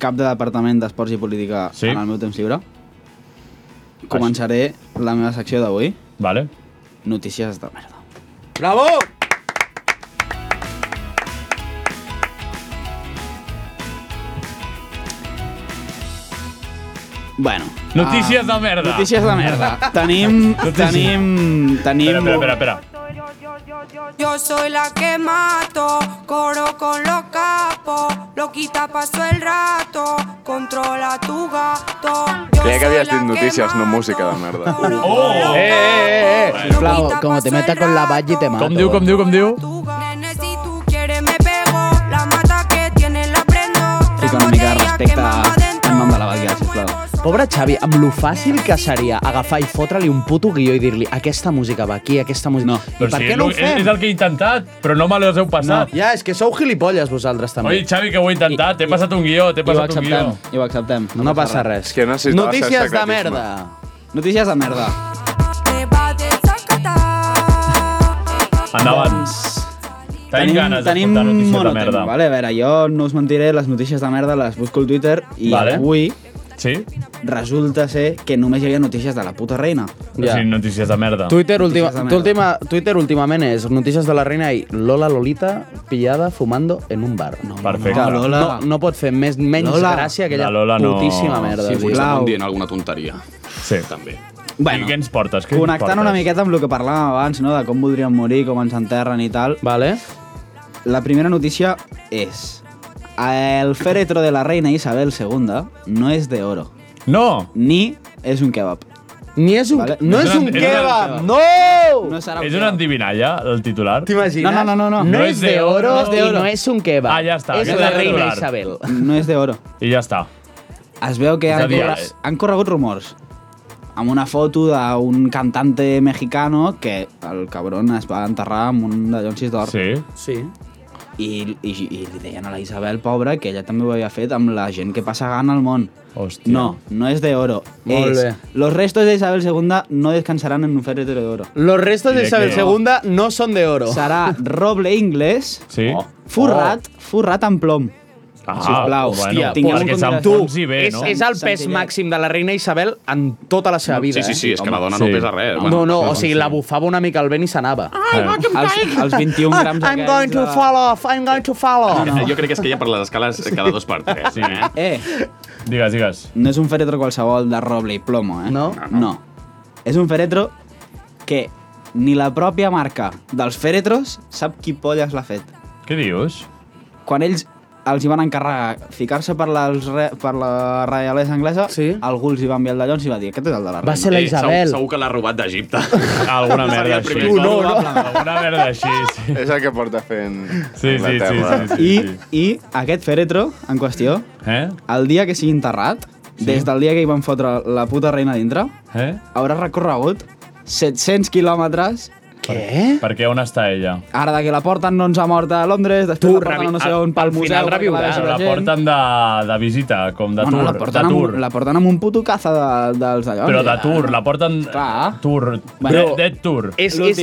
[SPEAKER 9] cap de Departament d'Esports i Política sí.
[SPEAKER 7] Ah,
[SPEAKER 9] en el meu temps lliure, començaré la meva secció d'avui.
[SPEAKER 3] Vale.
[SPEAKER 9] Notícies de merda.
[SPEAKER 7] Bravo!
[SPEAKER 9] Bueno.
[SPEAKER 3] Notícies
[SPEAKER 9] ah,
[SPEAKER 3] de merda.
[SPEAKER 9] Notícies de merda. tenim, tenim, tenim...
[SPEAKER 3] Espera, espera, espera.
[SPEAKER 14] Yo soy la que mato, coro con los capos, loquita pasó el rato, controla tu gato. Yo
[SPEAKER 8] Creia que
[SPEAKER 14] soy
[SPEAKER 8] havies
[SPEAKER 14] la
[SPEAKER 8] dit notícies, no música de merda.
[SPEAKER 7] Oh! Eh, eh, eh, eh. Sisplau, com te meta con la valla i te mato.
[SPEAKER 3] Com diu, com diu, com diu?
[SPEAKER 14] tú quieres me pego, la mata que tiene la prendo.
[SPEAKER 9] Fica una mica de respecte al nom de la Batllà, sisplau.
[SPEAKER 7] Pobre Xavi, amb lo fàcil que seria agafar i fotre-li un puto guió i dir-li aquesta música va aquí, aquesta música... No, I per
[SPEAKER 3] si
[SPEAKER 7] què
[SPEAKER 3] és
[SPEAKER 7] no ho
[SPEAKER 3] lo- és,
[SPEAKER 7] fem?
[SPEAKER 3] és el que he intentat, però no me les heu passat.
[SPEAKER 7] Ja, és que sou gilipolles vosaltres també.
[SPEAKER 3] Oi, Xavi, que ho he intentat. T'he passat un guió, t'he
[SPEAKER 7] i ho
[SPEAKER 3] passat un guió.
[SPEAKER 7] acceptem.
[SPEAKER 9] I ho acceptem.
[SPEAKER 7] No, no passa res.
[SPEAKER 8] És que necessitava
[SPEAKER 7] Notícies
[SPEAKER 8] certa
[SPEAKER 7] de
[SPEAKER 8] carisma.
[SPEAKER 7] merda.
[SPEAKER 9] Notícies de merda.
[SPEAKER 14] Te va de
[SPEAKER 3] Endavant. Tenim ganes d'escoltar notícies de
[SPEAKER 9] monotema,
[SPEAKER 3] merda.
[SPEAKER 9] Vale? A veure, jo no us mentiré, les notícies de merda les busco al Twitter i
[SPEAKER 3] Vale.
[SPEAKER 9] vale. avui
[SPEAKER 3] sí?
[SPEAKER 9] resulta ser que només hi havia notícies de la puta reina.
[SPEAKER 7] Ja.
[SPEAKER 3] O sigui, notícies de merda.
[SPEAKER 7] Twitter,
[SPEAKER 9] Notícies
[SPEAKER 7] última,
[SPEAKER 9] de merda.
[SPEAKER 7] tu última, Twitter últimament és notícies de la reina i Lola Lolita pillada fumando en un bar. No,
[SPEAKER 3] Perfecte.
[SPEAKER 7] No,
[SPEAKER 3] Lola.
[SPEAKER 7] no, no pot fer més, menys
[SPEAKER 9] Lola.
[SPEAKER 7] gràcia que
[SPEAKER 3] La
[SPEAKER 7] aquella
[SPEAKER 3] Lola no.
[SPEAKER 7] putíssima merda.
[SPEAKER 11] Sí, avui
[SPEAKER 7] tio.
[SPEAKER 11] estaven dient alguna tonteria.
[SPEAKER 3] Sí.
[SPEAKER 11] També.
[SPEAKER 3] I què ens portes? Què ens
[SPEAKER 9] Connectant
[SPEAKER 3] portes?
[SPEAKER 9] una miqueta amb el que parlàvem abans, no? de com voldríem morir, com ens enterren i tal.
[SPEAKER 7] Vale.
[SPEAKER 9] La primera notícia és... El féretro de la reina Isabel II no és de oro.
[SPEAKER 3] No!
[SPEAKER 9] Ni és un kebab.
[SPEAKER 7] Ni és un...
[SPEAKER 9] Vale?
[SPEAKER 7] No és un kebab! No!
[SPEAKER 9] No serà un
[SPEAKER 3] És una
[SPEAKER 9] kebab.
[SPEAKER 3] endivinalla, el titular?
[SPEAKER 7] T'imagines?
[SPEAKER 9] No, no, no, no, no.
[SPEAKER 7] No,
[SPEAKER 3] No
[SPEAKER 7] és
[SPEAKER 3] és
[SPEAKER 7] de
[SPEAKER 3] de
[SPEAKER 7] oro,
[SPEAKER 3] oro.
[SPEAKER 7] no és de oro. i no és un kebab.
[SPEAKER 3] Ah, ja està,
[SPEAKER 7] És
[SPEAKER 3] aquest
[SPEAKER 7] la
[SPEAKER 3] és el
[SPEAKER 7] reina
[SPEAKER 3] titular.
[SPEAKER 7] Isabel.
[SPEAKER 9] No és de oro.
[SPEAKER 3] I ja està.
[SPEAKER 9] Es veu que
[SPEAKER 3] És a
[SPEAKER 9] han,
[SPEAKER 3] dir,
[SPEAKER 9] corre...
[SPEAKER 3] eh.
[SPEAKER 9] han corregut rumors amb una foto d'un cantante mexicano que el cabron es va enterrar amb un de Jonsis d'or.
[SPEAKER 3] Sí.
[SPEAKER 7] Sí.
[SPEAKER 9] I, i, I li deien a la Isabel, pobra, que ella també ho havia fet amb la gent que passa gana al món.
[SPEAKER 3] Hòstia.
[SPEAKER 9] No, no és de oro.
[SPEAKER 7] Molt
[SPEAKER 9] és,
[SPEAKER 7] bé.
[SPEAKER 9] Los restos de Isabel II no descansarán en un féretro de oro.
[SPEAKER 7] Los restos de
[SPEAKER 9] Mira
[SPEAKER 7] Isabel
[SPEAKER 9] que-
[SPEAKER 7] II no són de oro.
[SPEAKER 9] Serà roble inglés
[SPEAKER 3] Sí?
[SPEAKER 9] forrat, forrat en plom.
[SPEAKER 3] Ah,
[SPEAKER 9] Sisplau,
[SPEAKER 3] bueno,
[SPEAKER 9] hòstia, tingueu
[SPEAKER 3] perquè
[SPEAKER 9] en compte-
[SPEAKER 3] s'enfonsi bé,
[SPEAKER 7] és,
[SPEAKER 3] Doncs no?
[SPEAKER 7] és el pes
[SPEAKER 9] Sentiment.
[SPEAKER 7] màxim de la reina Isabel en tota la seva vida.
[SPEAKER 11] Sí, sí, sí,
[SPEAKER 7] eh?
[SPEAKER 11] és que la dona no
[SPEAKER 3] Sí.
[SPEAKER 11] pesa res.
[SPEAKER 7] No, no, o sigui, la bufava una mica al vent i s'anava.
[SPEAKER 3] Ah.
[SPEAKER 12] Ai,
[SPEAKER 3] Eh,
[SPEAKER 12] va, que em
[SPEAKER 9] Els-
[SPEAKER 12] caig.
[SPEAKER 9] els
[SPEAKER 7] Ah,
[SPEAKER 9] 21 grams
[SPEAKER 12] I'm
[SPEAKER 9] aquests
[SPEAKER 12] going to
[SPEAKER 9] de-
[SPEAKER 12] fall off, I'm going to fall off.
[SPEAKER 11] Oh, Jo crec que és que ja per les escales cada dos per tres. Sí. Eh?
[SPEAKER 9] Eh,
[SPEAKER 3] Digues, digues.
[SPEAKER 9] no és un féretro qualsevol de roble i plomo, eh?
[SPEAKER 7] No?
[SPEAKER 9] No. És un féretro que ni la pròpia marca dels féretros sap qui polles l'ha fet.
[SPEAKER 3] Què dius?
[SPEAKER 9] Quan ells els hi van encarregar ficar-se per, les re, per la reialesa anglesa, sí? algú els hi va enviar el dallons i va dir, aquest és el de la reina.
[SPEAKER 7] Va ser la
[SPEAKER 11] Eh,
[SPEAKER 7] Isabel.
[SPEAKER 11] Segur, segur que l'ha robat d'Egipte.
[SPEAKER 3] Ah, Alguna merda
[SPEAKER 11] Seria el primer
[SPEAKER 3] així.
[SPEAKER 11] cop.
[SPEAKER 3] Alguna merda així, sí.
[SPEAKER 8] És el que porta fent
[SPEAKER 3] Sí, sí, sí,
[SPEAKER 8] Anglaterra.
[SPEAKER 3] sí, sí,
[SPEAKER 9] I,
[SPEAKER 3] sí.
[SPEAKER 9] I aquest fèretro, en qüestió,
[SPEAKER 3] eh?
[SPEAKER 9] el dia que sigui enterrat, sí? des del dia que hi van fotre la puta reina dintre,
[SPEAKER 3] Eh?
[SPEAKER 9] haurà recorregut 700 quilòmetres
[SPEAKER 3] Què? Perquè on està ella?
[SPEAKER 9] Ara de que la porten no ens ha mort a Londres, després la porten a no sé on, pel museu... perquè la vegi
[SPEAKER 3] Però la
[SPEAKER 9] gent.
[SPEAKER 3] porten de, de visita, com de
[SPEAKER 9] Bueno,
[SPEAKER 3] tour.
[SPEAKER 9] la porten,
[SPEAKER 3] de
[SPEAKER 9] amb,
[SPEAKER 3] tour.
[SPEAKER 9] la porten amb un puto caza de, dels allò.
[SPEAKER 3] Però de tour, la porten... Clar. Tour. Dead,
[SPEAKER 9] Bueno,
[SPEAKER 3] dead tour.
[SPEAKER 7] És, és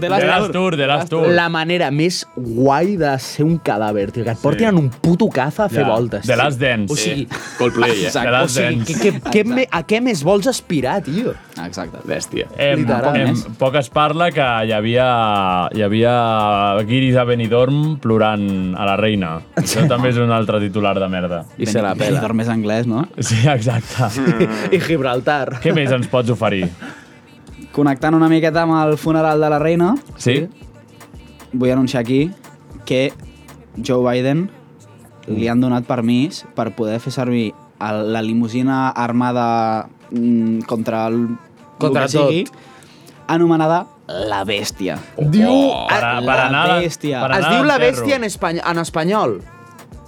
[SPEAKER 3] De, de, de, de, tour, de las tour.
[SPEAKER 7] La manera més guai de ser un cadàver, tio. Que et portin
[SPEAKER 3] Sí.
[SPEAKER 7] en un puto caza a fer
[SPEAKER 3] Ja,
[SPEAKER 7] voltes.
[SPEAKER 3] de
[SPEAKER 7] tio.
[SPEAKER 3] Last Dance.
[SPEAKER 7] O sigui,
[SPEAKER 3] Sí, Coldplay, eh?
[SPEAKER 7] Exacte.
[SPEAKER 3] De Last
[SPEAKER 7] o sigui,
[SPEAKER 3] Dance.
[SPEAKER 7] que, que, que me, a què més vols aspirar, tio?
[SPEAKER 9] Exacte.
[SPEAKER 11] Bèstia.
[SPEAKER 3] Em,
[SPEAKER 7] Literal.
[SPEAKER 3] em, poc es parla que hi havia, hi havia guiris a Benidorm plorant a la reina. Això també és un altre titular de merda.
[SPEAKER 9] I se la pela. Benidorm és anglès, no?
[SPEAKER 3] Sí, exacte.
[SPEAKER 7] I Gibraltar.
[SPEAKER 3] Què més ens pots oferir?
[SPEAKER 9] Connectant una miqueta amb el funeral de la reina,
[SPEAKER 3] Sí?
[SPEAKER 9] vull anunciar aquí que Joe Biden
[SPEAKER 7] Mm.
[SPEAKER 9] li han donat permís per poder fer servir el, la limusina armada mm, contra el
[SPEAKER 7] Contra
[SPEAKER 9] el que
[SPEAKER 7] tot.
[SPEAKER 9] sigui, anomenada la bèstia.
[SPEAKER 7] Diu...
[SPEAKER 3] Oh,
[SPEAKER 9] per a- per anar a la- per anar
[SPEAKER 7] Ah, es diu
[SPEAKER 9] al
[SPEAKER 7] la
[SPEAKER 9] ferro.
[SPEAKER 7] bèstia en, espany, en espanyol.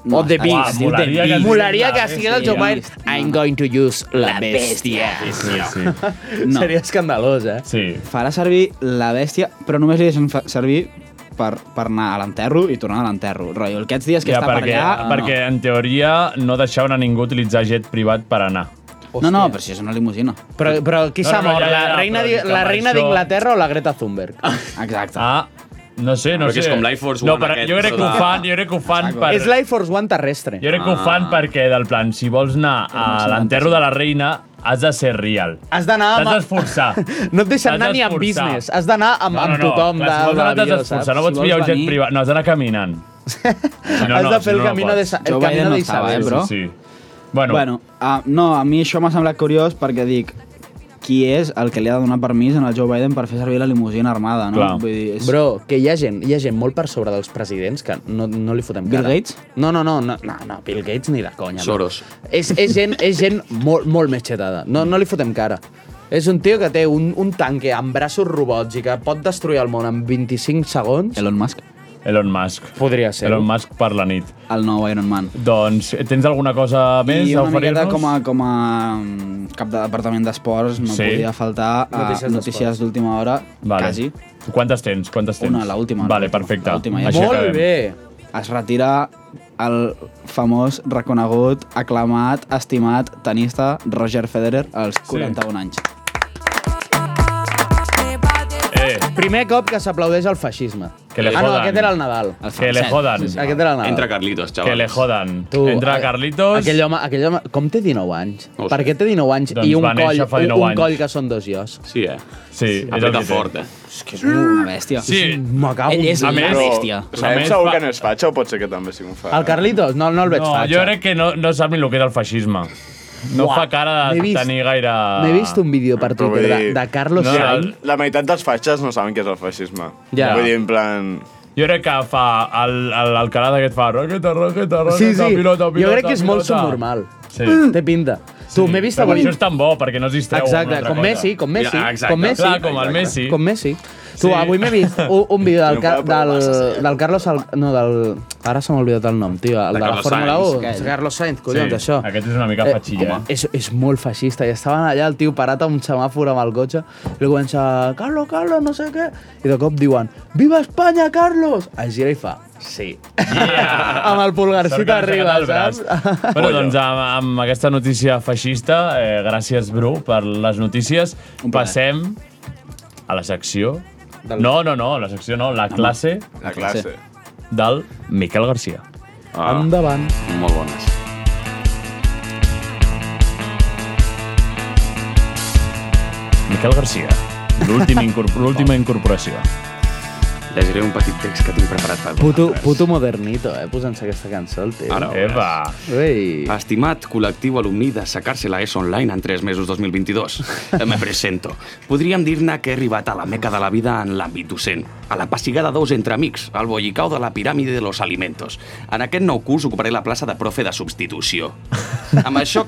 [SPEAKER 9] No,
[SPEAKER 7] o The
[SPEAKER 9] es-
[SPEAKER 7] Beast.
[SPEAKER 9] es diu The Beast.
[SPEAKER 7] Molaria
[SPEAKER 9] La
[SPEAKER 7] que sigui el Joe
[SPEAKER 9] bèstia.
[SPEAKER 7] Biden. I'm going to use la bèstia.
[SPEAKER 9] No.
[SPEAKER 7] Seria escandalós, eh?
[SPEAKER 3] Sí.
[SPEAKER 9] Farà servir la bèstia, però només li deixen fa- servir per, per anar a l'enterro i tornar a l'enterro. Rotllo, aquests dies que està
[SPEAKER 3] perquè,
[SPEAKER 9] per allà...
[SPEAKER 3] perquè en teoria no deixaven a ningú utilitzar jet privat per anar.
[SPEAKER 9] No, no, no però si és una limusina.
[SPEAKER 7] Però, però qui
[SPEAKER 3] No,
[SPEAKER 7] s'ha
[SPEAKER 3] no, no,
[SPEAKER 7] mort?
[SPEAKER 3] ja, ja,
[SPEAKER 7] La
[SPEAKER 3] ja,
[SPEAKER 7] reina,
[SPEAKER 3] però
[SPEAKER 7] di-
[SPEAKER 3] dic que
[SPEAKER 7] la
[SPEAKER 3] amb
[SPEAKER 7] reina
[SPEAKER 3] això-
[SPEAKER 7] d'Inglaterra o la Greta Thunberg?
[SPEAKER 9] Exacte.
[SPEAKER 3] Ah, no sé, no
[SPEAKER 11] Perquè
[SPEAKER 3] sé.
[SPEAKER 11] és com l'Air Force
[SPEAKER 3] no,
[SPEAKER 11] One
[SPEAKER 3] però
[SPEAKER 11] aquest,
[SPEAKER 3] jo crec que ho
[SPEAKER 11] sota-
[SPEAKER 3] fan, jo crec que ho fan per...
[SPEAKER 7] És l'Air Force One terrestre.
[SPEAKER 3] Jo crec que ho
[SPEAKER 9] Ah.
[SPEAKER 3] fan perquè, del plan, si vols anar a l'enterro de la reina, has de ser real.
[SPEAKER 7] Has d'anar amb-
[SPEAKER 3] T'has d'esforçar.
[SPEAKER 7] No et deixen
[SPEAKER 3] T'has
[SPEAKER 7] anar ni amb
[SPEAKER 3] d'esforçar.
[SPEAKER 7] business. Has d'anar amb, amb tothom
[SPEAKER 3] Clar,
[SPEAKER 7] de,
[SPEAKER 3] si vols
[SPEAKER 7] de
[SPEAKER 3] anar, t'has
[SPEAKER 7] l'avió,
[SPEAKER 3] d'esforçar. No
[SPEAKER 7] saps?
[SPEAKER 3] pots pillar un jet privat. No, has d'anar caminant.
[SPEAKER 9] Has de fer
[SPEAKER 3] si
[SPEAKER 9] el
[SPEAKER 3] no
[SPEAKER 9] camino
[SPEAKER 3] pots.
[SPEAKER 9] de Sa- el Joe camino Biden no de
[SPEAKER 3] Ah,
[SPEAKER 9] estava, Isabel. eh, bro?
[SPEAKER 3] Sí, sí. Bueno,
[SPEAKER 9] bueno a, no, a mi això m'ha semblat curiós perquè dic qui és el que li ha de donar permís en el Joe Biden per fer servir la limusina armada, no? Vull dir, és...
[SPEAKER 7] Bro, que hi ha, gent, hi ha gent molt per sobre dels presidents que no, no li fotem
[SPEAKER 9] Bill
[SPEAKER 7] cara.
[SPEAKER 9] Gates?
[SPEAKER 7] No, no, no, no, no, no Bill Gates ni de conya. no.
[SPEAKER 11] Soros.
[SPEAKER 7] És, és gent, és gent molt, molt més xetada. No, no li fotem cara. És un tio que té un, un tanque amb braços robots i que pot destruir el món en 25 segons.
[SPEAKER 9] Elon Musk.
[SPEAKER 3] Elon Musk.
[SPEAKER 7] Podria ser.
[SPEAKER 3] Elon Musk per la nit.
[SPEAKER 9] El nou Iron Man.
[SPEAKER 3] Doncs, tens alguna cosa més
[SPEAKER 9] I
[SPEAKER 3] a
[SPEAKER 9] una miqueta
[SPEAKER 3] oferir-nos?
[SPEAKER 9] com a, com a mm, cap de departament d'esports no
[SPEAKER 3] Sí.
[SPEAKER 9] podia faltar a
[SPEAKER 3] Notícies
[SPEAKER 9] notícies,
[SPEAKER 3] d'esports.
[SPEAKER 9] d'última hora,
[SPEAKER 3] Vale.
[SPEAKER 9] quasi.
[SPEAKER 3] Quantes tens? Quantes tens?
[SPEAKER 9] Una, l'última.
[SPEAKER 3] Vale, perfecte.
[SPEAKER 9] L'última, ja.
[SPEAKER 3] Així acabem.
[SPEAKER 9] bé. Es retira el famós, reconegut, aclamat, estimat tenista Roger Federer als 41 anys.
[SPEAKER 3] Eh.
[SPEAKER 7] Primer cop que s'aplaudeix al feixisme.
[SPEAKER 3] Que le
[SPEAKER 7] ah, no,
[SPEAKER 3] jodan.
[SPEAKER 7] aquest era el Nadal.
[SPEAKER 3] Que le jodan.
[SPEAKER 7] Aquest era el Nadal.
[SPEAKER 11] Carlitos,
[SPEAKER 3] Que le jodan. Entra
[SPEAKER 9] eh,
[SPEAKER 7] a-
[SPEAKER 3] Carlitos.
[SPEAKER 7] Aquell home, aquell home, com té 19 anys?
[SPEAKER 3] No ho
[SPEAKER 7] per
[SPEAKER 3] sé.
[SPEAKER 7] què té 19 anys
[SPEAKER 3] Doncs
[SPEAKER 7] i un
[SPEAKER 3] va
[SPEAKER 7] coll,
[SPEAKER 3] néixer fa
[SPEAKER 7] un,
[SPEAKER 3] 19
[SPEAKER 7] un
[SPEAKER 3] anys.
[SPEAKER 7] coll que són dos ios?
[SPEAKER 11] Sí, eh?
[SPEAKER 3] Sí, és el
[SPEAKER 11] Apreta
[SPEAKER 3] que té.
[SPEAKER 11] fort, eh?
[SPEAKER 9] És que és una bèstia.
[SPEAKER 3] Sí.
[SPEAKER 7] M'acabo.
[SPEAKER 9] Ell és
[SPEAKER 3] A més-
[SPEAKER 9] la bèstia.
[SPEAKER 3] A
[SPEAKER 8] Sabem
[SPEAKER 3] més,
[SPEAKER 8] segur
[SPEAKER 3] fa-
[SPEAKER 8] que no és fatxa o pot ser que també sigui un fa...
[SPEAKER 7] El Carlitos, no, no el veig
[SPEAKER 3] No,
[SPEAKER 7] fatxa.
[SPEAKER 3] jo crec que no, no sap ni el que és el feixisme. No
[SPEAKER 7] Uah,
[SPEAKER 3] fa cara
[SPEAKER 7] m'he
[SPEAKER 3] de
[SPEAKER 7] vist-
[SPEAKER 3] tenir gaire...
[SPEAKER 7] M'he vist un vídeo per
[SPEAKER 8] Però vull
[SPEAKER 7] Twitter de,
[SPEAKER 8] dir-
[SPEAKER 7] de Carlos
[SPEAKER 8] No, la,
[SPEAKER 7] Sainz.
[SPEAKER 8] la meitat dels fatxes no saben què és el feixisme.
[SPEAKER 3] Ja.
[SPEAKER 8] Vull dir, en plan...
[SPEAKER 3] Jo crec que fa el- el- l'alcalà d'aquest fa raqueta, raqueta, raqueta,
[SPEAKER 7] Sí, sí.
[SPEAKER 3] pilota, pilota,
[SPEAKER 7] jo crec que és molt
[SPEAKER 3] pilota.
[SPEAKER 7] subnormal.
[SPEAKER 3] Sí.
[SPEAKER 7] Té pinta.
[SPEAKER 3] Sí,
[SPEAKER 7] Tu, m'he vist
[SPEAKER 3] però
[SPEAKER 7] avui...
[SPEAKER 3] Això és tan bo, perquè no es distreu amb una
[SPEAKER 7] Exacte,
[SPEAKER 3] altra
[SPEAKER 7] com
[SPEAKER 3] cosa.
[SPEAKER 7] Messi, com Messi,
[SPEAKER 3] Ja, exacte.
[SPEAKER 7] com Messi.
[SPEAKER 3] Clar, com el Messi.
[SPEAKER 7] Com Messi. Tu,
[SPEAKER 3] Sí.
[SPEAKER 7] avui m'he vist un, un vídeo del,
[SPEAKER 3] No
[SPEAKER 7] Car
[SPEAKER 3] fa, però
[SPEAKER 7] del, del Carlos... Al, no, del... Ara se m'ha oblidat el nom, tio.
[SPEAKER 3] De
[SPEAKER 7] El de, la
[SPEAKER 3] Carlos
[SPEAKER 7] Fórmula
[SPEAKER 3] Sainz.
[SPEAKER 7] 1.
[SPEAKER 3] Aquell.
[SPEAKER 7] Carlos Sainz, collons,
[SPEAKER 3] Sí,
[SPEAKER 7] això.
[SPEAKER 3] aquest és una mica fatxilla, eh?
[SPEAKER 7] És, és molt feixista. I estaven allà el tio parat a un semàfor amb el cotxe i li comença... Carlos, Carlos, no sé què... I de cop diuen... Viva Espanya, Carlos! Es gira i fa... Sí. Amb el pulgarcito
[SPEAKER 3] Sort que no
[SPEAKER 7] arriba,
[SPEAKER 3] s'ha quedat
[SPEAKER 7] saps?
[SPEAKER 3] el braç. bueno, doncs amb, amb aquesta notícia feixista, eh, gràcies, Bru, per les notícies. Passem a la secció... No, no, no, la secció no, la classe...
[SPEAKER 8] La classe.
[SPEAKER 3] Del Miquel Garcia.
[SPEAKER 11] Ah.
[SPEAKER 7] Endavant.
[SPEAKER 11] Molt bones.
[SPEAKER 3] Miquel Garcia, l'última incorpor l'última incorporació.
[SPEAKER 11] Llegiré un petit text que tinc preparat per
[SPEAKER 7] Puto, puto modernito, eh, posant-se aquesta cançó, el tio.
[SPEAKER 11] Ara ho veuràs. Estimat col·lectiu alumní de sacar-se la ESO online en 3 mesos 2022, me presento. Podríem dir-ne que he arribat a la meca de la vida en l'àmbit docent, a la passigada 2 entre amics, al bollicau de la piràmide de los alimentos. En aquest nou curs ocuparé la plaça de profe de substitució. Amb això,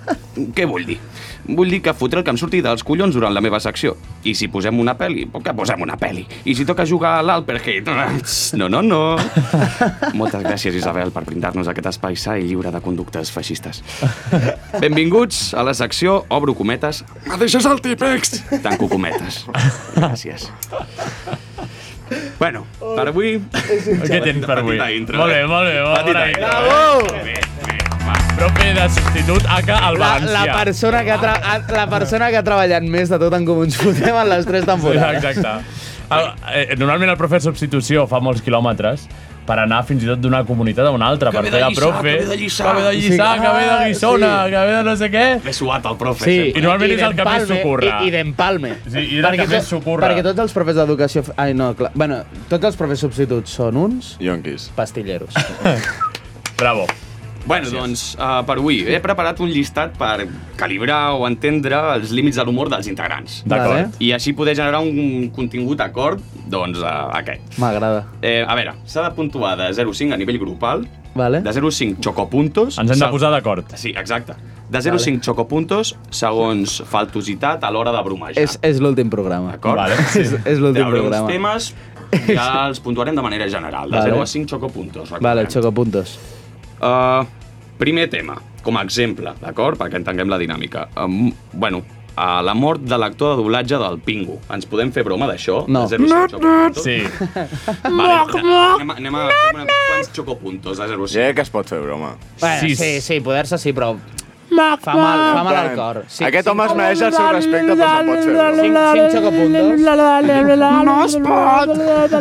[SPEAKER 11] què vull dir? Vull dir que fotré el que em surti dels collons durant la meva secció. I si posem una pel·li, que posem una pel·li. I si toca jugar a l'Alperhead... No, no, no. Moltes gràcies, Isabel, per brindar-nos aquest espai sa i lliure de conductes feixistes. Benvinguts a la secció Obro cometes. Me deixes el típex! Tanco cometes. Gràcies. Bueno, per avui...
[SPEAKER 3] Què tens per avui?
[SPEAKER 11] Petita intro,
[SPEAKER 3] Molt bé,
[SPEAKER 11] eh?
[SPEAKER 3] molt bé. Molt
[SPEAKER 11] Petita
[SPEAKER 3] bona
[SPEAKER 11] intro,
[SPEAKER 3] intro.
[SPEAKER 11] eh?
[SPEAKER 3] Profe de substitut, aca, al
[SPEAKER 7] La, la,
[SPEAKER 3] valencià.
[SPEAKER 7] persona que ha tra- ha, la persona que ha treballat més de tot en com ens fotem en les tres temporades.
[SPEAKER 3] Exacte. El, eh, normalment el profe de substitució fa molts quilòmetres per anar fins i tot d'una comunitat a una altra, per
[SPEAKER 11] ve
[SPEAKER 3] fer
[SPEAKER 11] de
[SPEAKER 3] de
[SPEAKER 11] Lliçà,
[SPEAKER 3] profe.
[SPEAKER 11] que ve de Lliçà.
[SPEAKER 3] Que ve de Lliçà, que
[SPEAKER 11] Sí.
[SPEAKER 3] ve de
[SPEAKER 11] Ah,
[SPEAKER 3] Guissona,
[SPEAKER 11] sí.
[SPEAKER 3] que ve de no sé què.
[SPEAKER 11] M'he suat el profe.
[SPEAKER 7] Sí,
[SPEAKER 11] sempre.
[SPEAKER 3] I normalment és el que més
[SPEAKER 7] d'empalme,
[SPEAKER 3] s'ho curra.
[SPEAKER 7] I, i d'empalme.
[SPEAKER 3] Sí, i és el que més s'ho curra.
[SPEAKER 7] Perquè tots els profes d'educació... f- Ai, no, clar. Bueno, tots els profes substituts són uns...
[SPEAKER 8] Yonquis.
[SPEAKER 7] Pastilleros.
[SPEAKER 3] Bravo.
[SPEAKER 11] Bueno, doncs, uh, per avui he preparat un llistat per calibrar o entendre els límits de l'humor dels integrants.
[SPEAKER 7] D'acord. Vale.
[SPEAKER 11] I així poder generar un contingut acord, doncs, uh, aquest.
[SPEAKER 7] M'agrada.
[SPEAKER 11] Eh, a veure, s'ha de puntuar de 0,5 a nivell grupal,
[SPEAKER 7] Vale.
[SPEAKER 11] de 0,5 xocopuntos...
[SPEAKER 3] Ens hem de
[SPEAKER 11] seg-
[SPEAKER 3] posar d'acord.
[SPEAKER 11] Sí, exacte. De 0,5 vale. xocopuntos segons faltositat a l'hora de bromejar.
[SPEAKER 7] És, és l'últim programa.
[SPEAKER 11] D'acord?
[SPEAKER 7] És, és l'últim
[SPEAKER 11] Hi haurà uns
[SPEAKER 7] programa.
[SPEAKER 11] temes ja els puntuarem de manera general, de
[SPEAKER 7] Vale.
[SPEAKER 11] 0 a 5 xocopuntos.
[SPEAKER 7] Vale, xocopuntos.
[SPEAKER 11] Uh, primer tema, com a exemple, d'acord? Perquè entenguem la dinàmica. Um, bueno, a la mort de l'actor de doblatge del Pingu. Ens podem fer broma d'això?
[SPEAKER 7] No.
[SPEAKER 11] De 0 a 5 xocopuntos?
[SPEAKER 3] Sí.
[SPEAKER 11] Moc, moc! Anem, a- anem a fer una, quants xocopuntos de 0 a 5? Ja
[SPEAKER 8] que es pot fer broma.
[SPEAKER 7] Bueno, sí,
[SPEAKER 8] Sis.
[SPEAKER 7] sí, sí poder-se sí, però... Fa mal, fa mal al cor. Sí,
[SPEAKER 8] Aquest home es mereix el seu respecte, però no pot fer-ho.
[SPEAKER 7] Cinc, cinc xocopuntos.
[SPEAKER 12] No es pot!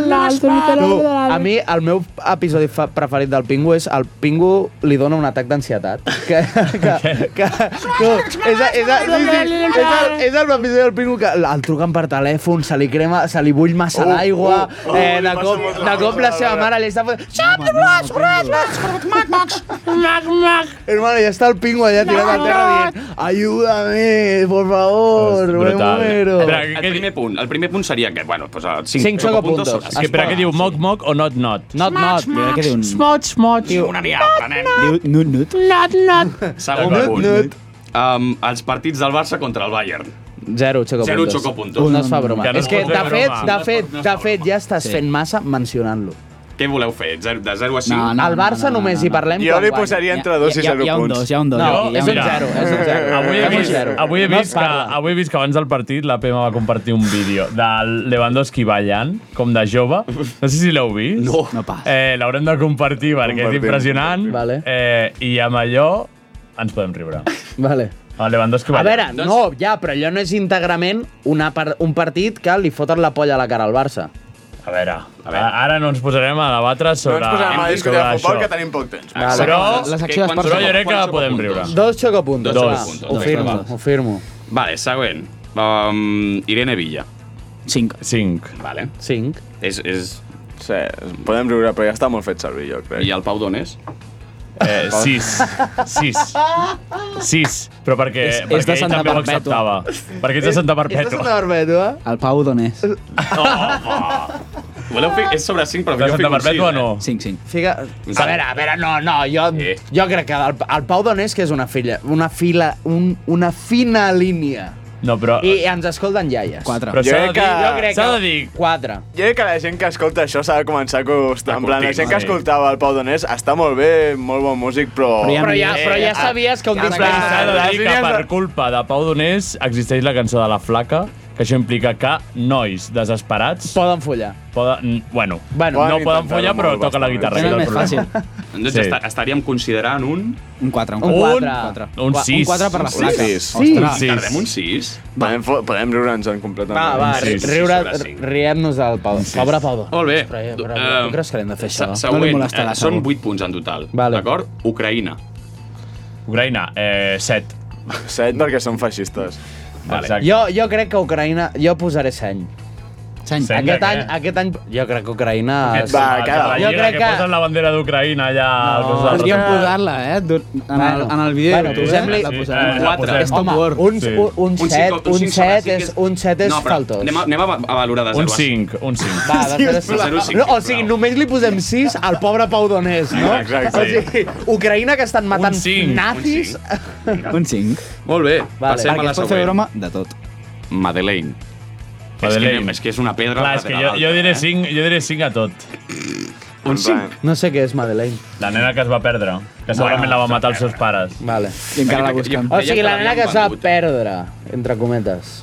[SPEAKER 12] No es pot!
[SPEAKER 7] Tu, a mi el meu episodi fa- preferit del Pingu és el Pingu li dona un atac d'ansietat. Que, que, que, tu, és, és, és, sí, sí, és, el, és el episodi del Pingu que el truquen per telèfon, se li crema, se li bull massa
[SPEAKER 12] Oh,
[SPEAKER 7] l'aigua,
[SPEAKER 12] oh, oh,
[SPEAKER 7] eh, de
[SPEAKER 12] li passa
[SPEAKER 7] cop,
[SPEAKER 12] molta
[SPEAKER 7] de cop la
[SPEAKER 12] cosa,
[SPEAKER 7] seva
[SPEAKER 12] a veure.
[SPEAKER 7] mare li està fent...
[SPEAKER 12] Xap, ros, ros, ros, mac, mac, mac, mac.
[SPEAKER 7] Hermano, ja està el Pingu allà tirat al terra dient Ayúdame, por favor, me muero.
[SPEAKER 11] Espera, el, primer punt, el primer punt seria aquest. Bueno, doncs, 5,
[SPEAKER 7] Cinc xocopuntos.
[SPEAKER 3] És que espera, què diu? Moc, moc o not, not?
[SPEAKER 7] Not,
[SPEAKER 12] Max, Max, mots, mots.
[SPEAKER 11] Una diabla, nen.
[SPEAKER 9] Diu, nut, nut.
[SPEAKER 12] Not, not.
[SPEAKER 11] Segon
[SPEAKER 7] Nut,
[SPEAKER 11] punt.
[SPEAKER 7] nut.
[SPEAKER 11] Um, els partits del Barça contra el Bayern.
[SPEAKER 7] Zero xocopuntos.
[SPEAKER 11] Zero xocopuntos.
[SPEAKER 7] No es fa broma.
[SPEAKER 11] Que no
[SPEAKER 7] és que,
[SPEAKER 11] es pot
[SPEAKER 7] de
[SPEAKER 11] fer
[SPEAKER 7] fet,
[SPEAKER 11] broma.
[SPEAKER 7] de
[SPEAKER 11] No es
[SPEAKER 7] fet, de fet, ja estàs
[SPEAKER 11] Sí.
[SPEAKER 7] fent massa mencionant-lo.
[SPEAKER 11] Què voleu fer? Zero- De 0 a 5?
[SPEAKER 7] Al Barça només hi parlem
[SPEAKER 11] Jo
[SPEAKER 7] quan
[SPEAKER 11] li
[SPEAKER 7] guanya.
[SPEAKER 11] posaria entre dos i Hi ha- zero hi ha un punts. dos, hi ha un dos,
[SPEAKER 7] No,
[SPEAKER 11] hi ha- hi ha
[SPEAKER 7] és
[SPEAKER 11] un
[SPEAKER 7] un
[SPEAKER 11] dos.
[SPEAKER 7] zero, és un zero.
[SPEAKER 3] Avui he,
[SPEAKER 7] És un
[SPEAKER 3] vist,
[SPEAKER 7] zero.
[SPEAKER 3] avui, he
[SPEAKER 7] No es
[SPEAKER 3] vist que, avui he vist que abans del partit la Pema va compartir un vídeo del Lewandowski ballant, com de jove. No sé si l'heu vist. No,
[SPEAKER 9] no pas.
[SPEAKER 3] Eh, L'haurem de compartir perquè és
[SPEAKER 7] Compartim.
[SPEAKER 3] impressionant. Vale. Eh, I amb allò ens podem riure.
[SPEAKER 7] Vale.
[SPEAKER 3] El Lewandowski
[SPEAKER 7] A
[SPEAKER 3] ballant.
[SPEAKER 7] veure,
[SPEAKER 11] Doncs-
[SPEAKER 7] no, ja, però allò no és íntegrament una par un partit que li foten la polla a la cara al Barça.
[SPEAKER 3] A veure, a veure. Ara no ens posarem a debatre sobre...
[SPEAKER 7] ens posarem a
[SPEAKER 3] sobre
[SPEAKER 7] discutir de
[SPEAKER 3] Doncs això.
[SPEAKER 7] futbol, que
[SPEAKER 8] tenim poc temps.
[SPEAKER 7] Vale.
[SPEAKER 3] Però,
[SPEAKER 7] La secció d'esports
[SPEAKER 3] però jo
[SPEAKER 7] tampoc.
[SPEAKER 3] crec que podem riure.
[SPEAKER 7] Dos xocopuntos,
[SPEAKER 11] Dos
[SPEAKER 7] va,
[SPEAKER 11] xocopuntos,
[SPEAKER 7] ho
[SPEAKER 11] dos
[SPEAKER 7] firmo,
[SPEAKER 11] xocopuntos.
[SPEAKER 7] ho firmo.
[SPEAKER 11] Vale, següent. Um, Irene Villa.
[SPEAKER 9] 5.
[SPEAKER 3] 5.
[SPEAKER 11] Vale.
[SPEAKER 7] 5.
[SPEAKER 11] És... és...
[SPEAKER 8] Sí, podem riure, però ja està molt fet servir, jo crec.
[SPEAKER 11] I el Pau d'on és?
[SPEAKER 3] Eh, sis. Sis. Sis. Però perquè,
[SPEAKER 9] És- és
[SPEAKER 3] perquè
[SPEAKER 9] de
[SPEAKER 3] ell
[SPEAKER 9] Santa
[SPEAKER 3] també ho
[SPEAKER 9] Perpètua.
[SPEAKER 3] acceptava. Perquè ets de Santa Perpètua.
[SPEAKER 7] Perpètua?
[SPEAKER 9] El Pau d'on és?
[SPEAKER 11] Voleu fer... És sobre 5, però
[SPEAKER 3] De
[SPEAKER 11] jo
[SPEAKER 3] Santa
[SPEAKER 11] fico un 6.
[SPEAKER 3] Perpètua no.
[SPEAKER 9] 5, 5.
[SPEAKER 7] Figa... A veure, a veure, no, no, jo, jo crec que el, el Pau Donés que és una filla, una fila, un, una fina línia.
[SPEAKER 3] No, però...
[SPEAKER 7] I ens escolten iaies.
[SPEAKER 8] Quatre. Però Jo s'ha de crec que- dir-
[SPEAKER 7] Jo crec
[SPEAKER 8] s'ha de
[SPEAKER 3] dir...
[SPEAKER 7] Quatre.
[SPEAKER 8] Jo crec que la gent que escolta això s'ha de començar a acostar. En plan, la gent que
[SPEAKER 7] sí.
[SPEAKER 8] escoltava el Pau Donés està molt bé, molt bon músic, però...
[SPEAKER 7] Però ja- Però ja- però ja sabies que un dia
[SPEAKER 8] en
[SPEAKER 7] s'ha de
[SPEAKER 8] plan,
[SPEAKER 3] S'ha de
[SPEAKER 8] les
[SPEAKER 3] dir que
[SPEAKER 8] línies de-
[SPEAKER 3] per culpa de Pau Donés existeix la cançó de la flaca, que això implica que nois desesperats...
[SPEAKER 7] Poden follar.
[SPEAKER 3] Poden, bueno,
[SPEAKER 7] bueno,
[SPEAKER 3] no poden follar, però toca la guitarra. aquest és el problema.
[SPEAKER 11] Doncs
[SPEAKER 3] Sí.
[SPEAKER 11] sí. estaríem considerant un...
[SPEAKER 9] Un 4,
[SPEAKER 3] un Un quatre. quatre. Un Un sis. quatre per la
[SPEAKER 8] Un
[SPEAKER 3] placa.
[SPEAKER 8] sis.
[SPEAKER 3] Sí.
[SPEAKER 8] Ostres,
[SPEAKER 3] Sí.
[SPEAKER 8] tardem
[SPEAKER 11] un 6.
[SPEAKER 8] Podem, fo- podem riure'ns-en completament.
[SPEAKER 7] Va, va, ri- riure, riem-nos del Pau. Pobre Pau Donés.
[SPEAKER 11] Molt bé.
[SPEAKER 7] Però, ja, però,
[SPEAKER 11] Eh,
[SPEAKER 7] tu creus que l'hem de fer això?
[SPEAKER 11] se- Següent, eh, són 8 punts en total. Vale. D'acord? Ucraïna.
[SPEAKER 3] Ucraïna, eh, 7.
[SPEAKER 8] 7 perquè són feixistes.
[SPEAKER 7] Jo, jo crec que Ucraïna... Jo posaré seny.
[SPEAKER 9] Aquest any.
[SPEAKER 3] Sembla
[SPEAKER 7] Aquest
[SPEAKER 3] que-
[SPEAKER 7] any, aquest any, jo crec que Ucraïna...
[SPEAKER 3] Aquest va,
[SPEAKER 7] jo crec
[SPEAKER 3] que
[SPEAKER 7] que...
[SPEAKER 3] posen la bandera d'Ucraïna allà... al costat.
[SPEAKER 9] Podríem posar-la, eh? Du- En el, en el vídeo
[SPEAKER 7] Bueno,
[SPEAKER 9] de YouTube,
[SPEAKER 7] posem-li...
[SPEAKER 9] la
[SPEAKER 7] Sí,
[SPEAKER 9] posarem.
[SPEAKER 7] eh, la posem.
[SPEAKER 9] És top
[SPEAKER 7] Home,
[SPEAKER 9] war.
[SPEAKER 7] un, sí. un, un,
[SPEAKER 9] Un
[SPEAKER 7] set,
[SPEAKER 9] cinc-
[SPEAKER 7] un,
[SPEAKER 9] un
[SPEAKER 7] un
[SPEAKER 9] cinc sobre
[SPEAKER 7] set
[SPEAKER 9] cinc
[SPEAKER 7] és, un set és
[SPEAKER 11] No, però
[SPEAKER 7] faltós.
[SPEAKER 11] anem a, anem a va- a valorar de 0
[SPEAKER 3] Un 5, un 5.
[SPEAKER 7] Va, després...
[SPEAKER 11] sisplau. Zero, cinc,
[SPEAKER 7] no, o sigui, només li posem 6 al pobre Pau Donés, no?
[SPEAKER 11] Exacte.
[SPEAKER 7] O sigui, Ucraïna que estan matant
[SPEAKER 11] cinc, un
[SPEAKER 7] nazis...
[SPEAKER 9] Un 5.
[SPEAKER 11] Molt bé,
[SPEAKER 7] Vale.
[SPEAKER 11] passem
[SPEAKER 9] eh? Perquè
[SPEAKER 11] a la
[SPEAKER 9] es pot fer
[SPEAKER 11] següent.
[SPEAKER 9] broma de tot.
[SPEAKER 11] Madeleine. És que,
[SPEAKER 3] Madeleine.
[SPEAKER 11] és que és una pedra eh?
[SPEAKER 3] Clar, és que jo, jo, diré 5, jo diré 5 a tot.
[SPEAKER 11] Un
[SPEAKER 3] cinc?
[SPEAKER 7] No sé què és Madeleine.
[SPEAKER 3] La nena que es va perdre, que segurament la va matar els seus pares.
[SPEAKER 7] Vale.
[SPEAKER 9] I encara la busquen.
[SPEAKER 7] O sigui, la nena que es va perdre, entre cometes.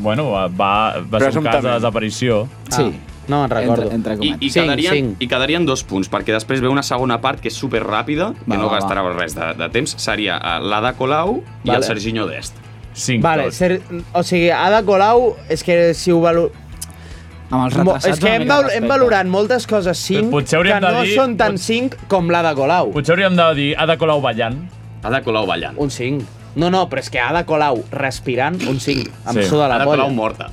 [SPEAKER 3] Bueno, va, va va ser un cas de
[SPEAKER 11] Presumptament.
[SPEAKER 3] desaparició.
[SPEAKER 7] Ah, no me'n recordo.
[SPEAKER 11] I, i, quedarien, I quedarien dos punts, perquè després ve una segona part que és super ràpida, que
[SPEAKER 7] Va,
[SPEAKER 11] no
[SPEAKER 7] va,
[SPEAKER 11] gastarà res de, de temps. Seria eh, l'Ada Colau i
[SPEAKER 7] Vale.
[SPEAKER 11] el Serginho d'Est.
[SPEAKER 3] Cinc
[SPEAKER 7] Vale, ser, o sigui, Ada Colau, és que si ho valo...
[SPEAKER 9] Amb els
[SPEAKER 7] Mo-
[SPEAKER 9] retrasats...
[SPEAKER 7] és que
[SPEAKER 9] una
[SPEAKER 7] hem,
[SPEAKER 9] mica
[SPEAKER 7] val
[SPEAKER 9] de
[SPEAKER 7] hem
[SPEAKER 9] respecte.
[SPEAKER 7] valorat moltes coses 5
[SPEAKER 3] Potser
[SPEAKER 7] que
[SPEAKER 3] hauríem de
[SPEAKER 7] no
[SPEAKER 3] dir-
[SPEAKER 7] són tan 5 com l'Ada Colau.
[SPEAKER 3] Potser hauríem de dir Ada Colau ballant.
[SPEAKER 11] Ada Colau ballant.
[SPEAKER 7] Un 5. No, no, però és que Ada Colau respirant, un 5. Em
[SPEAKER 3] Sí.
[SPEAKER 7] suda la
[SPEAKER 11] Ada
[SPEAKER 7] polla. Ah.
[SPEAKER 11] Colau morta.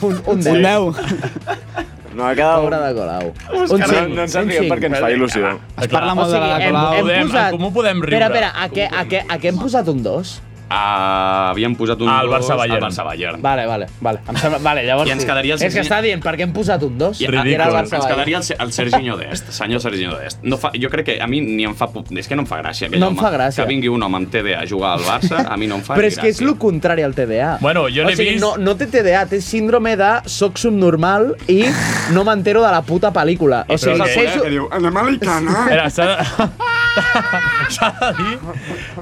[SPEAKER 7] un, un 10.
[SPEAKER 8] No, ha quedat...
[SPEAKER 7] Pobre de Colau.
[SPEAKER 8] Un no, no ens en riem perquè ens fa
[SPEAKER 7] Ah,
[SPEAKER 8] il·lusió.
[SPEAKER 9] Es parla molt de la
[SPEAKER 7] hem,
[SPEAKER 9] Colau.
[SPEAKER 7] hem
[SPEAKER 3] Podem-
[SPEAKER 7] posat...
[SPEAKER 3] en comú podem riure.
[SPEAKER 7] Espera, espera, a què, a què, a què hem posat un 2?
[SPEAKER 11] Uh, havíem posat un
[SPEAKER 3] Al
[SPEAKER 11] dos
[SPEAKER 3] Barça Bayern.
[SPEAKER 11] Al Barça Bayern.
[SPEAKER 7] Vale, vale, vale. Em sembla, vale, llavors
[SPEAKER 11] I ens
[SPEAKER 7] sí.
[SPEAKER 11] quedaria el
[SPEAKER 7] És que
[SPEAKER 11] Serginho-
[SPEAKER 7] està dient, per què hem posat un 2?
[SPEAKER 11] I,
[SPEAKER 7] Era el
[SPEAKER 11] Ridícul.
[SPEAKER 7] Barça
[SPEAKER 11] Ens
[SPEAKER 7] Bayern.
[SPEAKER 11] quedaria el, Se- el Serginho d'Est, senyor Serginho d'Est. No fa, jo crec que a mi ni em fa... pu- És que no em fa gràcia. aquell
[SPEAKER 7] No em
[SPEAKER 11] home.
[SPEAKER 7] fa gràcia.
[SPEAKER 11] Que vingui un home amb TDA a jugar al Barça, a mi no em fa
[SPEAKER 7] Però
[SPEAKER 11] ni
[SPEAKER 7] és que és
[SPEAKER 11] gràcia.
[SPEAKER 7] el contrari al TDA.
[SPEAKER 3] Bueno, jo
[SPEAKER 7] o
[SPEAKER 3] l'he
[SPEAKER 7] sigui,
[SPEAKER 3] vist-
[SPEAKER 7] No, no té TDA, té síndrome de soc subnormal i no m'entero de la puta pel·lícula. O sigui,
[SPEAKER 3] Però que-
[SPEAKER 7] sé...
[SPEAKER 3] que
[SPEAKER 7] Su...
[SPEAKER 8] diu, anem a l'Icana.
[SPEAKER 3] Era, s'ha de... s'ha de dir...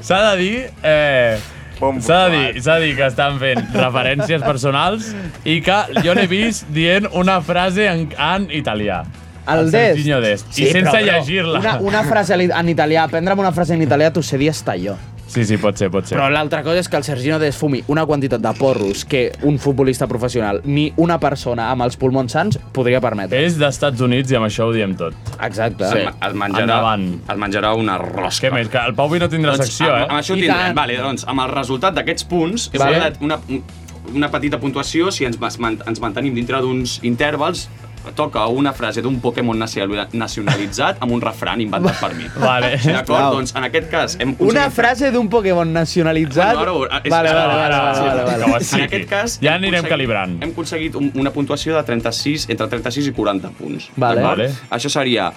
[SPEAKER 3] S'ha de dir... Eh, S'ha de, dir, s'ha de dir que estan fent referències personals i que jo l'he vist dient una frase en, en italià.
[SPEAKER 7] El
[SPEAKER 3] Serginho
[SPEAKER 7] Dest.
[SPEAKER 3] Dest. I sense llegir-la.
[SPEAKER 7] Una, una frase li- en italià, aprendre'm una frase en italià, t'ho sé dir estar jo.
[SPEAKER 3] Sí, sí, pot ser, pot ser.
[SPEAKER 7] Però l'altra cosa és que el Sergino desfumi una quantitat de porros que un futbolista professional ni una persona amb els pulmons sants podria permetre.
[SPEAKER 3] És d'Estats Units i amb això ho diem tot.
[SPEAKER 7] Exacte.
[SPEAKER 11] Sí. Es menjarà,
[SPEAKER 3] Endavant.
[SPEAKER 11] es menjarà una rosca.
[SPEAKER 3] Què més? Que el Pauvi no tindrà
[SPEAKER 11] Doncs,
[SPEAKER 3] secció,
[SPEAKER 11] amb,
[SPEAKER 3] eh?
[SPEAKER 11] Amb això
[SPEAKER 3] I
[SPEAKER 11] tindrem.
[SPEAKER 3] tant.
[SPEAKER 11] Vale, doncs, amb el resultat d'aquests punts, hem
[SPEAKER 3] Vale.
[SPEAKER 11] vale. una, un- una petita puntuació, si ens, mas- man- ens mantenim dintre d'uns intervals, toca una frase d'un Pokémon nacional- nacionalitzat amb un refran inventat per mi.
[SPEAKER 3] Vale.
[SPEAKER 11] D'acord?
[SPEAKER 7] Sisplau.
[SPEAKER 11] Doncs en aquest cas hem aconseguit...
[SPEAKER 7] Una frase d'un Pokémon nacionalitzat...
[SPEAKER 11] Bueno, ara, és,
[SPEAKER 7] vale, vale,
[SPEAKER 11] ara-
[SPEAKER 7] vale, vale,
[SPEAKER 11] ara-
[SPEAKER 7] vale,
[SPEAKER 3] Que ho
[SPEAKER 7] vale.
[SPEAKER 3] expliqui.
[SPEAKER 11] En aquest cas...
[SPEAKER 3] Ja
[SPEAKER 11] hem
[SPEAKER 3] anirem
[SPEAKER 11] aconseguit-
[SPEAKER 3] calibrant.
[SPEAKER 11] Hem aconseguit un, una puntuació de 36, entre 36 i 40 punts.
[SPEAKER 7] Vale.
[SPEAKER 11] D'acord?
[SPEAKER 3] Vale.
[SPEAKER 11] Això seria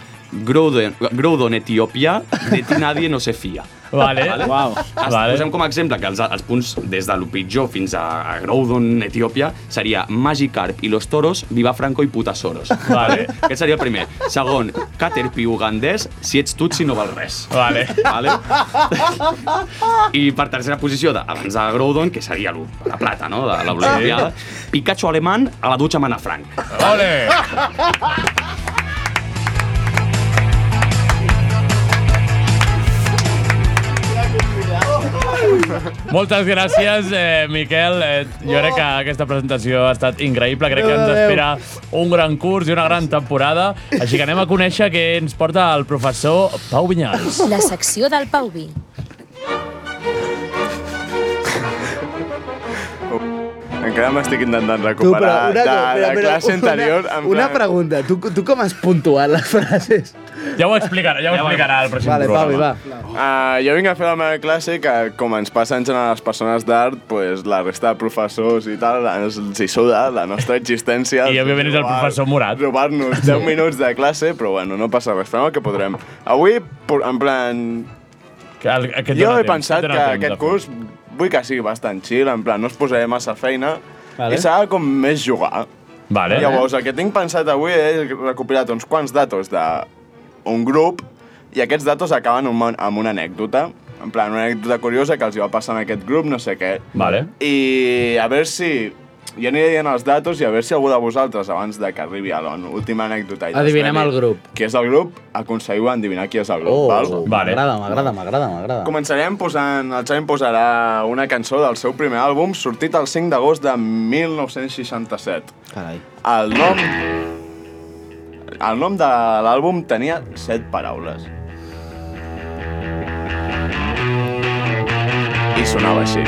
[SPEAKER 11] Groudon, Groudon Etiòpia, de ti nadie no se fia.
[SPEAKER 3] Vale.
[SPEAKER 9] Uau.
[SPEAKER 11] Es,
[SPEAKER 3] Vale.
[SPEAKER 11] Posem com a exemple que els, els punts des de lo pitjor fins a, a Groudon, Etiòpia, seria Magikarp i los toros, Viva Franco i Putasoros.
[SPEAKER 3] Vale.
[SPEAKER 11] Aquest seria el primer. Segon, Caterpie ugandès, si ets tutsi no val res.
[SPEAKER 3] Vale.
[SPEAKER 11] Vale? I per tercera posició, de, abans de Groudon, que seria lo- la plata, no?, de l'Olimpiada, Pikachu alemán a la dutxa Manafranc.
[SPEAKER 3] Ole! Moltes gràcies, eh, Miquel. Eh, jo crec que aquesta presentació ha estat increïble. Crec que ens espera un gran curs i una gran temporada. Així que anem a conèixer què ens porta el professor Pau Vinyals.
[SPEAKER 6] La secció del Pau Vi.
[SPEAKER 8] Encara m'estic intentant
[SPEAKER 7] Tu, però
[SPEAKER 8] recuperar
[SPEAKER 7] una,
[SPEAKER 8] de,
[SPEAKER 7] mira,
[SPEAKER 8] la
[SPEAKER 7] mira,
[SPEAKER 8] classe anterior.
[SPEAKER 7] Una,
[SPEAKER 8] en
[SPEAKER 7] una
[SPEAKER 8] plan-
[SPEAKER 7] pregunta, tu, tu com has puntuat les frases?
[SPEAKER 3] Ja ho explicarà, ja ho explicarà el pròxim
[SPEAKER 7] Vale, Pavi,
[SPEAKER 3] programa.
[SPEAKER 7] va.
[SPEAKER 8] Uh, jo vinc a fer la meva classe que, com ens passa en general a les persones d'art, pues, la resta de professors i tal ens, els hi suda la nostra existència.
[SPEAKER 3] I, òbviament, és el
[SPEAKER 8] Robar-
[SPEAKER 3] professor Morat.
[SPEAKER 8] Robar-nos 10 minuts de classe, però bueno, no passa res, farem el que podrem. Avui, por- en plan,
[SPEAKER 3] Que el, que et
[SPEAKER 8] jo
[SPEAKER 3] dona
[SPEAKER 8] he
[SPEAKER 3] temps,
[SPEAKER 8] pensat
[SPEAKER 3] et
[SPEAKER 8] que
[SPEAKER 3] dona temps
[SPEAKER 8] aquest
[SPEAKER 3] de fer.
[SPEAKER 8] curs vull que sigui bastant chill, en plan, no es posaré massa feina, vale. i serà com més jugar.
[SPEAKER 3] Vale.
[SPEAKER 8] Llavors, el que tinc pensat avui és recopilat uns quants datos d'un grup i aquests datos acaben amb una- amb una anècdota. En plan, una anècdota curiosa que els hi va passar en aquest grup, no sé què.
[SPEAKER 3] Vale.
[SPEAKER 8] I a veure si... Jo aniré dient els datos i a veure si algú de vosaltres, abans de que arribi a l'última anècdota... i
[SPEAKER 7] Adivinem
[SPEAKER 8] desveli
[SPEAKER 7] el grup.
[SPEAKER 8] Qui és el grup? Aconseguiu endevinar qui és el grup,
[SPEAKER 7] Oh,
[SPEAKER 8] val?
[SPEAKER 7] m'agrada, m'agrada, m'agrada, m'agrada.
[SPEAKER 8] Començarem posant... El Xavi em posarà una cançó del seu primer àlbum, sortit el 5 d'agost de 1967.
[SPEAKER 9] Carai.
[SPEAKER 8] El nom... El nom de l'àlbum tenia set paraules. I sonava així.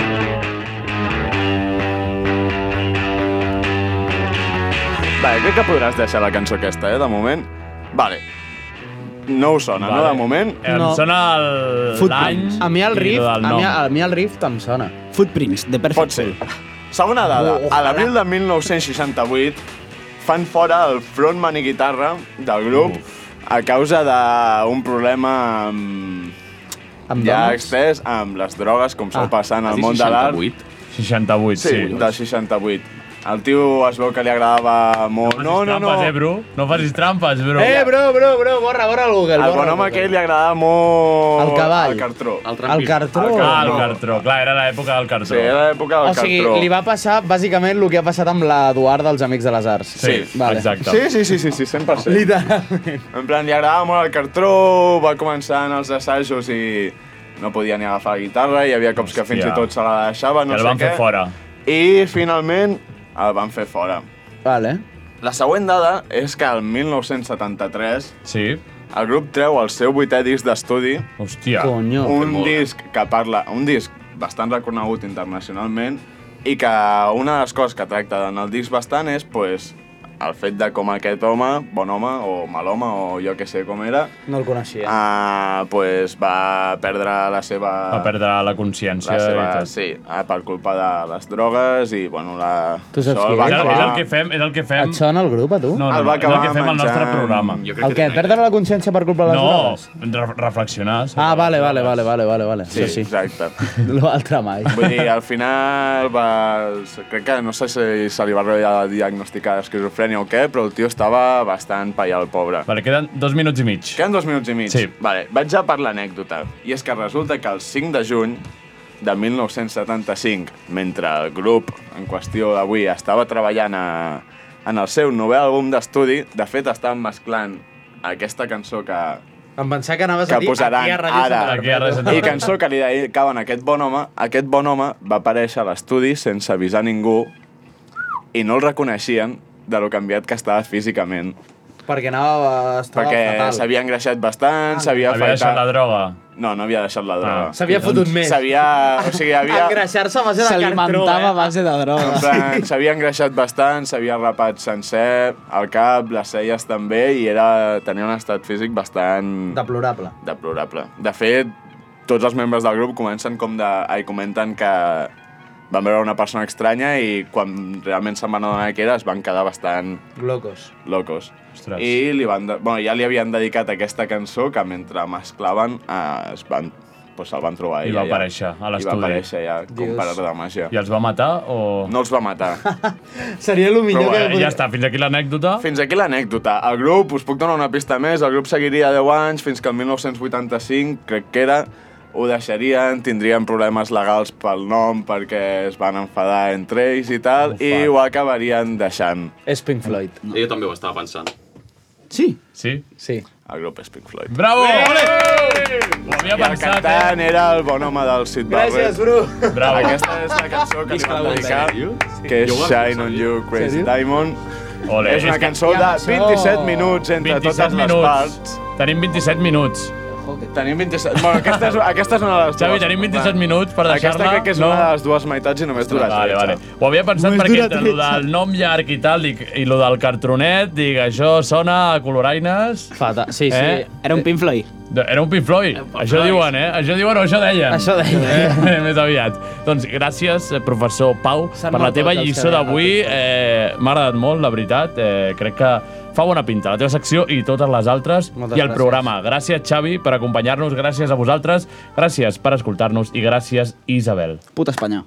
[SPEAKER 8] Vale, crec que podràs deixar la cançó aquesta, eh, de moment. Vale. No us sona, vale. no,
[SPEAKER 3] Vale.
[SPEAKER 8] de moment?
[SPEAKER 3] Em No. sona el- l'any
[SPEAKER 7] A mi el
[SPEAKER 8] i
[SPEAKER 7] riff, a
[SPEAKER 8] el
[SPEAKER 7] mi,
[SPEAKER 8] nom.
[SPEAKER 7] a mi el riff em sona.
[SPEAKER 9] Footprints, de
[SPEAKER 8] Pot
[SPEAKER 9] Perfect
[SPEAKER 8] ser. Segona dada.
[SPEAKER 7] Oh,
[SPEAKER 8] a l'abril de 1968 fan fora el frontman i guitarra del grup a causa d'un problema amb...
[SPEAKER 7] Amb
[SPEAKER 8] ja
[SPEAKER 3] dones?
[SPEAKER 8] extès amb les drogues, com sol
[SPEAKER 3] Ah.
[SPEAKER 8] passar en
[SPEAKER 3] Has
[SPEAKER 8] el
[SPEAKER 3] dit
[SPEAKER 8] món de l'art.
[SPEAKER 3] 68,
[SPEAKER 8] Sí,
[SPEAKER 3] sí.
[SPEAKER 8] de 68. El tio es veu que li agradava molt... No, no, no.
[SPEAKER 3] Trampes, eh, bro? No facis trampes, bro.
[SPEAKER 8] Eh,
[SPEAKER 7] bro, bro, bro, borra, borra el Google.
[SPEAKER 8] El bon home aquell li agradava molt...
[SPEAKER 7] El cavall.
[SPEAKER 8] El cartró. El,
[SPEAKER 7] trampista. cartró.
[SPEAKER 3] Ah, el cartró. Clar, era l'època del cartró.
[SPEAKER 8] Sí, era l'època
[SPEAKER 7] O sigui, li va passar bàsicament el que ha passat amb l'Eduard dels Amics de les Arts.
[SPEAKER 8] Sí, sí, sí, sí, sí 100%.
[SPEAKER 7] Literalment.
[SPEAKER 8] En plan, li agradava molt el cartró, va començar en els assajos i no podia ni agafar la guitarra, hi havia cops que fins i
[SPEAKER 3] Hòstia.
[SPEAKER 8] tot se la deixava, no
[SPEAKER 3] I el
[SPEAKER 8] sé
[SPEAKER 3] van
[SPEAKER 8] què.
[SPEAKER 3] fer fora.
[SPEAKER 8] I finalment el van fer fora.
[SPEAKER 7] Vale.
[SPEAKER 8] La següent dada és que el 1973
[SPEAKER 3] sí.
[SPEAKER 8] el grup treu el seu vuitè disc d'estudi.
[SPEAKER 3] Hòstia.
[SPEAKER 7] Conyo.
[SPEAKER 8] Un disc que parla... Un disc bastant reconegut internacionalment i que una de les coses que tracta en el disc bastant és pues, el fet de com aquest home, bon home o mal home o jo que sé com era,
[SPEAKER 7] No el coneixia.
[SPEAKER 8] Ah, pues va perdre la seva...
[SPEAKER 3] Va perdre la
[SPEAKER 8] la
[SPEAKER 3] consciència
[SPEAKER 8] seva,
[SPEAKER 3] i tot.
[SPEAKER 8] sí, ah, per culpa de les drogues i, bueno, la...
[SPEAKER 7] Tu saps
[SPEAKER 8] això el
[SPEAKER 7] qui
[SPEAKER 8] va
[SPEAKER 7] és?
[SPEAKER 8] acabar-
[SPEAKER 3] És el que fem, és el que fem...
[SPEAKER 7] Et sona el grup, a tu?
[SPEAKER 3] No, no,
[SPEAKER 8] El
[SPEAKER 3] no,
[SPEAKER 8] va
[SPEAKER 3] és el
[SPEAKER 8] acabar
[SPEAKER 3] que fem al nostre
[SPEAKER 8] menjant-
[SPEAKER 3] programa.
[SPEAKER 7] El què? Perdre la consciència per culpa de les
[SPEAKER 3] No,
[SPEAKER 7] drogues?
[SPEAKER 3] re- reflexionar. sobre
[SPEAKER 7] Ah, vale,
[SPEAKER 3] les
[SPEAKER 7] vale,
[SPEAKER 3] drogues.
[SPEAKER 7] vale, vale, vale, vale.
[SPEAKER 8] Sí,
[SPEAKER 7] Això sí.
[SPEAKER 8] exacte.
[SPEAKER 7] L'altre mai.
[SPEAKER 8] Vull dir, al final va... Crec que no sé si se li va ja diagnosticar esquizofrènia o què, però el tio estava bastant paia el pobre.
[SPEAKER 3] Vale, queden dos minuts i mig.
[SPEAKER 8] Queden dos minuts i mig.
[SPEAKER 3] Sí.
[SPEAKER 8] Vale, vaig ja per l'anècdota. I és que resulta que el 5 de juny de 1975, mentre el grup en qüestió d'avui estava treballant a, en el seu novè àlbum d'estudi, de fet estaven mesclant aquesta cançó que,
[SPEAKER 7] Em pensava que anaves
[SPEAKER 8] que posaran ara i
[SPEAKER 7] cançó.
[SPEAKER 8] cançó que li dedicaven a aquest bon home, aquest bon home va aparèixer a l'estudi sense avisar ningú i no el reconeixien de lo canviat que estava físicament.
[SPEAKER 7] Perquè anava... Estava
[SPEAKER 8] perquè
[SPEAKER 7] fatal. Ah,
[SPEAKER 8] s'havia engreixat bastant, s'havia
[SPEAKER 3] Havia
[SPEAKER 8] afaitat...
[SPEAKER 3] deixat la Ah. droga.
[SPEAKER 8] No, no havia deixat la droga.
[SPEAKER 7] S'havia fotut més.
[SPEAKER 8] S'havia... O sigui, havia...
[SPEAKER 7] Engreixar-se a base de cartró,
[SPEAKER 9] S'alimentava
[SPEAKER 7] eh?
[SPEAKER 9] a base de
[SPEAKER 8] En
[SPEAKER 9] drogues.
[SPEAKER 8] plan, s'havia engreixat bastant, s'havia rapat sencer, el cap, les celles també, i era, tenia un estat físic bastant...
[SPEAKER 7] Deplorable.
[SPEAKER 8] Deplorable. De fet, tots els membres del grup comencen com de... Ai, comenten que van veure una persona estranya i quan realment se'n van adonar que era es van quedar bastant
[SPEAKER 7] Locos.
[SPEAKER 8] locos.
[SPEAKER 3] Ostres.
[SPEAKER 8] I li van de... bueno, ja li havien dedicat aquesta cançó que mentre mesclaven eh, es van... Pues el van trobar
[SPEAKER 3] I
[SPEAKER 8] ell
[SPEAKER 3] va
[SPEAKER 8] allà.
[SPEAKER 3] aparèixer a
[SPEAKER 8] I
[SPEAKER 3] l'estudi.
[SPEAKER 8] va aparèixer ja, com
[SPEAKER 3] Dios.
[SPEAKER 8] per art de màgia.
[SPEAKER 3] I els va matar o...? Eh,
[SPEAKER 8] No els va matar.
[SPEAKER 7] Seria el
[SPEAKER 8] millor que
[SPEAKER 3] Ja
[SPEAKER 8] podria-
[SPEAKER 3] està, fins aquí l'anècdota.
[SPEAKER 8] Oh. Fins aquí l'anècdota. El grup, us puc donar una pista més, el grup seguiria 10 anys fins que el 1985, crec que era, ho deixarien, tindrien problemes legals pel nom perquè es van enfadar entre ells i tal, i ho acabarien deixant.
[SPEAKER 7] És Pink Floyd.
[SPEAKER 11] No. Jo també ho estava pensant.
[SPEAKER 7] Sí?
[SPEAKER 3] Sí?
[SPEAKER 7] Sí.
[SPEAKER 8] El grup és Pink Floyd.
[SPEAKER 3] Bravo!
[SPEAKER 8] Ho
[SPEAKER 3] havia
[SPEAKER 8] pensat, el cantant eh? era el bon home del Sid Barrett.
[SPEAKER 7] Gràcies, Bru.
[SPEAKER 3] Bravo.
[SPEAKER 8] Aquesta és la eh? cançó que li van dedicar, que és
[SPEAKER 3] Jo ho havia
[SPEAKER 8] Shine on You, Crazy Diamond.
[SPEAKER 3] Ole,
[SPEAKER 8] és una
[SPEAKER 3] que-
[SPEAKER 8] cançó de 27 minuts entre
[SPEAKER 3] 27
[SPEAKER 8] totes les
[SPEAKER 3] minuts.
[SPEAKER 8] parts.
[SPEAKER 3] Tenim 27 minuts.
[SPEAKER 8] Tenim 27... Bueno, aquesta és, aquesta és una de les
[SPEAKER 3] Xavi,
[SPEAKER 8] dues.
[SPEAKER 3] tenim 27 minuts per
[SPEAKER 8] Aquesta
[SPEAKER 3] deixar-la,
[SPEAKER 8] crec que és
[SPEAKER 3] no?
[SPEAKER 8] una de les dues meitats i només dura
[SPEAKER 3] Ah, Vale,
[SPEAKER 8] 13.
[SPEAKER 3] vale. Ho havia pensat
[SPEAKER 8] Només
[SPEAKER 3] perquè
[SPEAKER 8] dura
[SPEAKER 3] entre el
[SPEAKER 8] 13.
[SPEAKER 3] del nom llarg i tal i, i lo del cartronet, dic, això sona a coloraines...
[SPEAKER 7] Fata, sí, sí.
[SPEAKER 9] Eh? Era un Pink Floyd.
[SPEAKER 3] Era un Pink Floyd. Això
[SPEAKER 9] Floyd.
[SPEAKER 3] diuen, eh? Això diuen o això deien.
[SPEAKER 9] Això deien.
[SPEAKER 3] Eh, més aviat. Doncs gràcies, eh, professor Pau,
[SPEAKER 7] S'han
[SPEAKER 3] per la
[SPEAKER 7] mort
[SPEAKER 3] teva
[SPEAKER 7] tots els
[SPEAKER 3] lliçó
[SPEAKER 7] que deien
[SPEAKER 3] d'avui. Eh, M'ha agradat molt, la veritat. Eh, crec que fa bona pinta la teva secció i totes les altres
[SPEAKER 7] Moltes
[SPEAKER 3] i el
[SPEAKER 7] gràcies.
[SPEAKER 3] programa. Gràcies, Xavi, per acompanyar-nos. Gràcies a vosaltres. Gràcies per escoltar-nos i gràcies, Isabel.
[SPEAKER 9] Puta Espanya.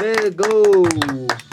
[SPEAKER 7] Let's go!